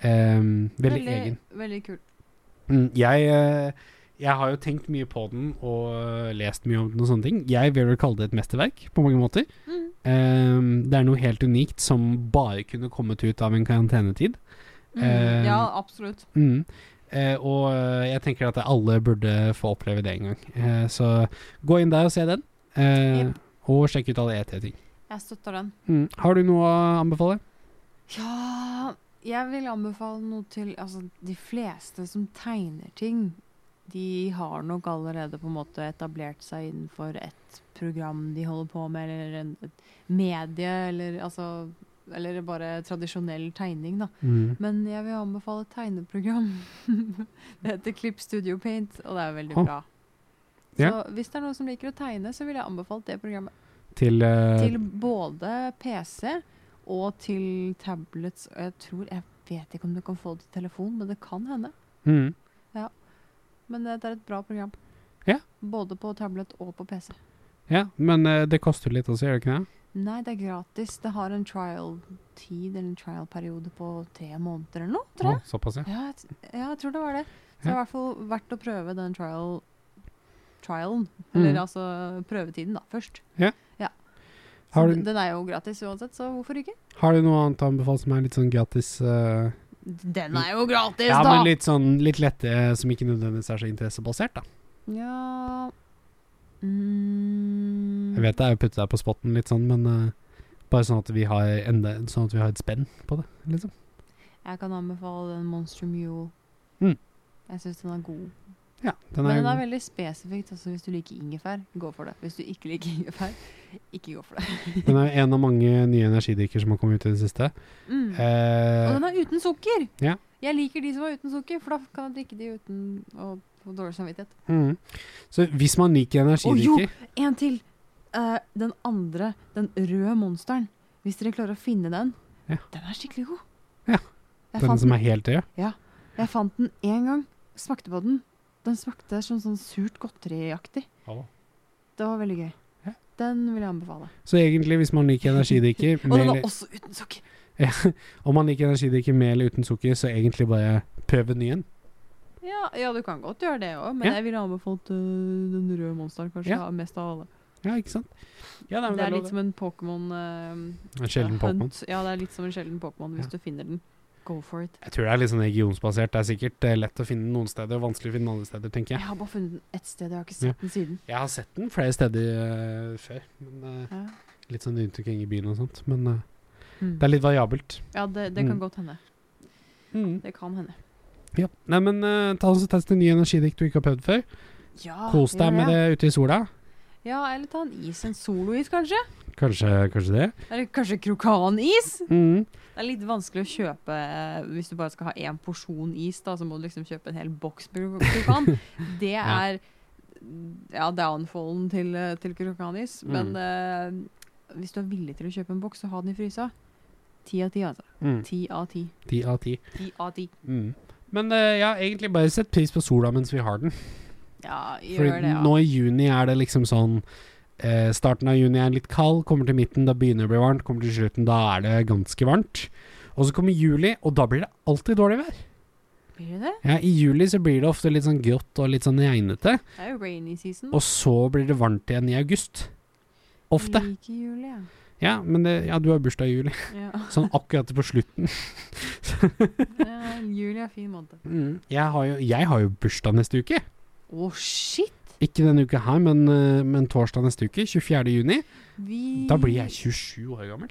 B: Eh, veldig, egen.
A: Veldig kult.
B: Mm, jeg, eh, jeg har jo tenkt mye på den og eh, lest mye om den og sånne ting. Jeg vil vel kalle det et mesterverk på mange måter.
A: Mm.
B: Ehm, det er noe helt unikt som bare kunne kommet ut av en karantenetid.
A: Mm.
B: Eh,
A: ja, absolutt.
B: Mm. Eh, og eh, jeg tenker at alle burde få oppleve det en gang. Eh, så gå inn der og se den. Eh,
A: Jep.
B: Og sjekk ut alle ET-ting.
A: Jeg støtter den.
B: Mm. Har du noe å anbefale?
A: Ja, jeg vil anbefale noe til Altså, de fleste som tegner ting, de har nok allerede på en måte etablert seg innenfor et program de holder på med, eller en, et medie, eller altså Eller bare tradisjonell tegning, da. Men jeg vil anbefale et tegneprogram. det heter Klipp Studio Paint, og det er veldig
B: Å.
A: bra. Så
B: Ja.
A: hvis det er noen som liker å tegne, så vil jeg anbefale det programmet.
B: Til, eh,
A: Til både PC og til tablets. Og jeg tror Jeg vet ikke om du kan få det til telefon, men det kan hende.
B: mm.
A: Men eh, det er et bra program.
B: Ja.
A: Både på tablet og på PC.
B: Ja, men eh, det koster litt også, gjør det ikke det?
A: Nei, det er gratis. Det har en trial-tid eller en trial-periode på tre måneder eller noe, tror jeg.
B: Å, såpass, ja.
A: Ja, jeg, t- ja, jeg tror det var det. Så det er i hvert fall verdt å prøve den trial trialen, eller
B: Mm.
A: altså prøvetiden, da, først.
B: Ja.
A: Så
B: Har du-
A: den- den er jo gratis uansett, så hvorfor ikke?
B: Har du noe annet å anbefale som er litt sånn gratis? eh,
A: Den er jo gratis,
B: ja,
A: da!
B: men litt sånn litt lette eh, som ikke nødvendigvis er så interessebasert, da.
A: Ja mm.
B: Jeg vet det er å putte deg på spotten litt sånn, men eh, bare sånn at vi har enda, sånn at vi har et spenn på det, liksom.
A: Mm, Jeg kan anbefale den Monster Mule.
B: Mm.
A: Jeg syns den er god.
B: Ja, den
A: Men
B: er,
A: den er veldig spesifikt. Altså hvis du liker ingefær, gå for det. Hvis du ikke liker ingefær, ikke gå for det.
B: den er en av mange nye energidrikker som har kommet ut i det siste.
A: Mm.
B: Eh,
A: Og den er uten sukker!
B: Ja.
A: Jeg liker de som er uten sukker, for da kan jeg drikke de uten å få dårlig samvittighet.
B: mm. Så hvis man liker
A: Å, jo!
B: energidrikker
A: En til! eh, den andre, den røde monsteren, hvis dere klarer å finne den,
B: Ja.
A: den er skikkelig god.
B: Ja.
A: Jeg
B: Den
A: fant
B: som er helt rød?
A: Jeg fant den én gang, smakte på den. Den smakte som sånn surt godteriaktig. Det var veldig gøy.
B: Ja.
A: Den vil jeg anbefale.
B: Så egentlig, hvis man liker energidrikker
A: Og
B: med-
A: den var også uten sukker.
B: Ja, Om man liker energidrikker med eller uten sukker, så egentlig bare prøv en ny en.
A: Ja, ja, du kan godt gjøre det òg, men
B: Ja.
A: jeg ville anbefalt øh, den røde monsteren kanskje
B: Ja.
A: av- mest av alle.
B: Ja, ikke sant? Ja, nei, men
A: det er
B: lov,
A: litt som en Pokémon øh,
B: En sjelden
A: hunt.
B: Pokémon.
A: Ja, det er litt som en sjelden Pokémon hvis du finner den. Go for it.
B: Jeg tror det er litt sånn regionsbasert. Det er sikkert eh, lett å finne noen steder, og vanskelig å finne andre steder, tenker
A: Jeg
B: jeg.
A: har bare funnet den ett sted, jeg har ikke
B: Ja.
A: sett den siden.
B: Jeg har sett den flere steder eh, før, men eh,
A: Ja,
B: litt sånn rundt omkring i byen og sånt. Men eh,
A: mm.
B: det er litt variabelt.
A: ja det, det
B: Mm.
A: kan godt hende. Det kan hende.
B: Ja. Nei, men eh, ta oss og test en ny energidrikk du ikke har prøvd før.
A: Ah, Ja,
B: Kos
A: gjør
B: deg med det ute i sola.
A: Ja, eller ta en is. En solois, kanskje?
B: Kanskje, kanskje det.
A: Eller kanskje krokanis?
B: Mm.
A: Det er litt vanskelig å kjøpe eh, hvis du bare skal ha én porsjon is, da, så må du liksom kjøpe en hel boks med krokan. Det
B: Ja.
A: er ja, downfallen til, eh, til krokanis. Men
B: Mm.
A: eh, hvis du er villig til å kjøpe en boks og ha den i frysa, ti av ti, altså.
B: Mm.
A: Ti av ti.
B: Ti av ti.
A: Ti av ti.
B: Mm. Men eh, ja, egentlig bare sett pris på sola mens vi har den.
A: Ja,
B: Fordi
A: gjør det, ja.
B: nå i juni er det liksom sånn eh, Starten av juni er litt kald, kommer til midten, da begynner det å bli varmt, kommer til slutten, da er det ganske varmt. Og så kommer juli, og da blir det alltid dårlig vær.
A: Blir det det?
B: Ja, I juli så blir det ofte litt sånn grått og litt sånn regnete,
A: Det er jo rainy season.
B: og så blir det varmt igjen i august. Ofte.
A: Like juli, ja.
B: Ja, men det, ja, du har bursdag i juli,
A: ja.
B: sånn akkurat på slutten.
A: ja juli er fin måned.
B: Mm. Jeg, har jo, jeg har jo bursdag neste uke.
A: Å, shit!
B: Ikke denne uka her, men, eh, men torsdag neste uke, 24. juni.
A: Vi
B: Da blir jeg 27 år gammel.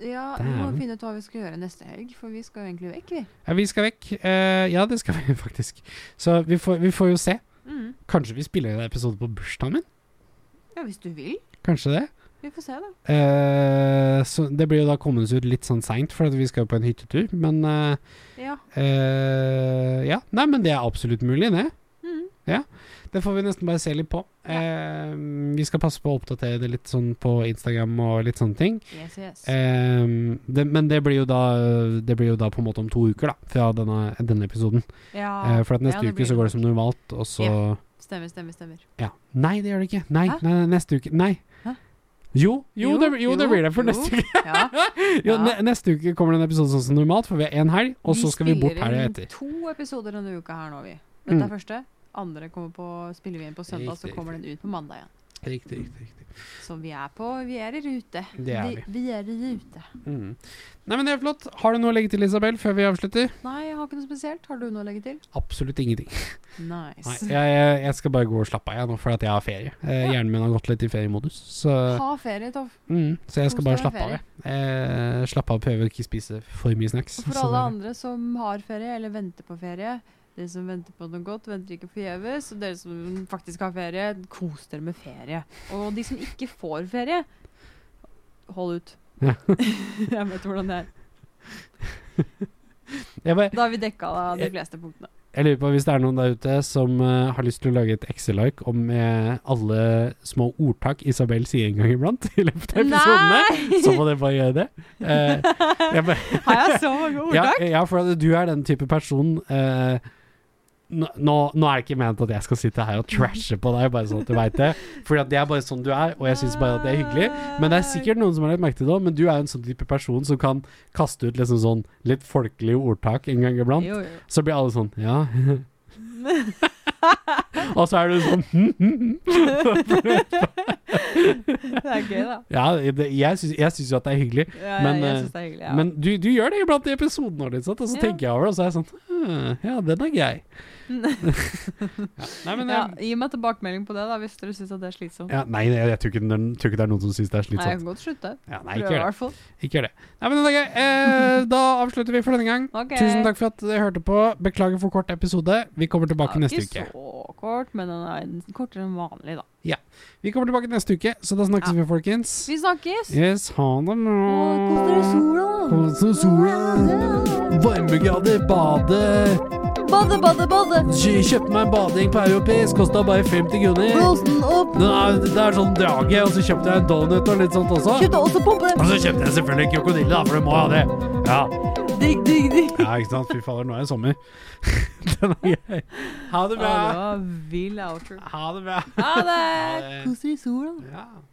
A: Ja, vi må
B: Dæven.
A: finne ut hva vi skal gjøre neste helg, for vi skal jo egentlig vekk, vi.
B: Ja, vi skal vekk. Eh, ja, det skal vi faktisk. Så vi får, vi får jo se.
A: Mm.
B: Kanskje vi spiller en episode på bursdagen min?
A: Ja, hvis du vil.
B: Kanskje det.
A: Vi får se, da.
B: Eh, så det blir jo da kommet ut litt sånn seint, for at vi skal jo på en hyttetur. Men eh,
A: Ja.
B: eh, ja. Nei, men det er absolutt mulig, det.
A: Mm.
B: Det får vi nesten bare se litt på. Eh, vi skal passe på å oppdatere det litt sånn på Instagram og litt sånne ting.
A: Yes, yes.
B: Eh, det, men det blir, jo da, det blir jo da på en måte om to uker, da, fra denne, denne episoden.
A: ja.
B: Eh, for at neste
A: Ah, Ja, det
B: uke
A: blir
B: så går det som normalt, og så
A: Stemmer, stemmer, stemmer.
B: Ja. Nei, det gjør det ikke. Nei,
A: Hæ?
B: nei, nei neste uke. Nei.
A: Hæ?
B: Jo, jo,
A: Jo,
B: det, jo, det
A: jo,
B: blir det for
A: jo.
B: neste uke.
A: Ja.
B: Jo,
A: Ja.
B: ne- Neste uke kommer det en episode sånn som normalt, for vi har én helg, og så skal vi bort helga
A: Vi
B: etter.
A: spiller inn to episoder denne uka her nå, vi. Dette
B: Mm.
A: er første. Andre kommer på, spiller vi inn på søndag,
B: Riktig,
A: så kommer den ut på mandag igjen.
B: Riktig, riktig, riktig.
A: Så vi er på Vi er i rute.
B: Det er
A: vi. vi er i rute.
B: Mm. Nei, men det er flott. Har du noe å legge til, Isabel, før vi avslutter?
A: Nei, jeg har ikke noe spesielt. Har du noe å legge til?
B: Absolutt ingenting. Nei,
A: Nice.
B: jeg, jeg, jeg skal bare gå og slappe av jeg nå, for at jeg har ferie. Eh,
A: Ja.
B: Hjernen min har gått litt i feriemodus, så,
A: Ha ferie, Toff.
B: mm, så jeg skal
A: Kos
B: bare
A: deg med
B: slappe av. jeg. Eh, slappe av, prøve å ikke spise for mye snacks.
A: Og for
B: så
A: alle
B: Sånn det-
A: andre som har ferie eller venter på ferie Dere som venter på noe godt, venter ikke forgjeves. Og dere som faktisk har ferie, kos dere med ferie. Og de som ikke får ferie, hold ut.
B: Ja.
A: Jeg vet hvordan det er.
B: Jeg bare,
A: Da har vi dekka de fleste punktene.
B: Jeg lurer på hvis det er noen der ute som eh, har lyst til å lage et Excel-ark om eh, alle små ordtak Isabel sier en gang iblant i løpet av episodene, så må dere bare gjøre det. Eh, jeg bare,
A: Har jeg så mange
B: ja,
A: ordtak?
B: ja, for at du er den type person eh, nå, nå nå er det ikke ment at jeg skal sitte her og trashe på deg, bare sånn at du veit det. For det er bare sånn du er, og jeg syns bare at det er hyggelig. Men det er sikkert noen som har lagt merke til det òg, men du er en sånn type person som kan kaste ut liksom sånn litt folkelige ordtak en gang iblant.
A: Jo, jo.
B: Så blir alle sånn Ja. og så er du sånn hm, hm, hm.
A: Det er gøy, da.
B: Ja, det, jeg syns jeg syns jo at det er hyggelig.
A: Ja, ja,
B: Men,
A: jeg
B: eh,
A: syns det er hyggelig. Ja.
B: Men du, du gjør det iblant i episoden, vår, ikke sant? og så
A: Ja.
B: tenker jeg over det, og så er jeg sånn «Hm, Ja, den er grei. ja. Nei, men eh,
A: ja,
B: jeg,
A: gi meg tilbakemelding på det, da, hvis dere syns det er slitsomt.
B: ja, Nei, jeg, jeg tror, ikke, den- tror ikke det er noen som syns det er
A: Nei, jeg
B: slitsomt.
A: kan godt slutte.
B: Ja, nei, ikke
A: Prøve, i
B: gjør det.
A: hvert fall.
B: Ikke gjør det. Nei, men det er gøy. Eh, da avslutter vi for denne gang.
A: Ok.
B: Tusen takk for at dere hørte på. Beklager for kort episode. Vi kommer tilbake
A: Ja,
B: neste uke.
A: Ikke så kort, men den er kortere enn vanlig, da.
B: Vi kommer tilbake neste uke, så da snakkes vi, folkens.
A: Vi snakkes!
B: Yes, ha det bra.
A: Kos dere i sola!
B: Kos dere i sola. Varmegrader, bade,
E: bade, bade, bade.
B: Kjøpte meg en bading på europeisk, kosta bare 50 kroner.
E: Rosen opp.
B: Det er, det er sånn drage, og så kjøpte jeg en donut og litt sånt også.
E: Kjøpte også pumpe.
A: Altså,
B: Og så kjøpte jeg selvfølgelig en krokodille, da, for du må ha det. Ja.
E: Digg, digg, digg.
B: ja, ikke sant. Fy fader, nå er det sommer. Den er gøy. Ha det
A: Ja,
B: bra.
A: det var vill outro.
B: Ha det bra.
A: Ha det!
E: Koser i sola.
B: Ja.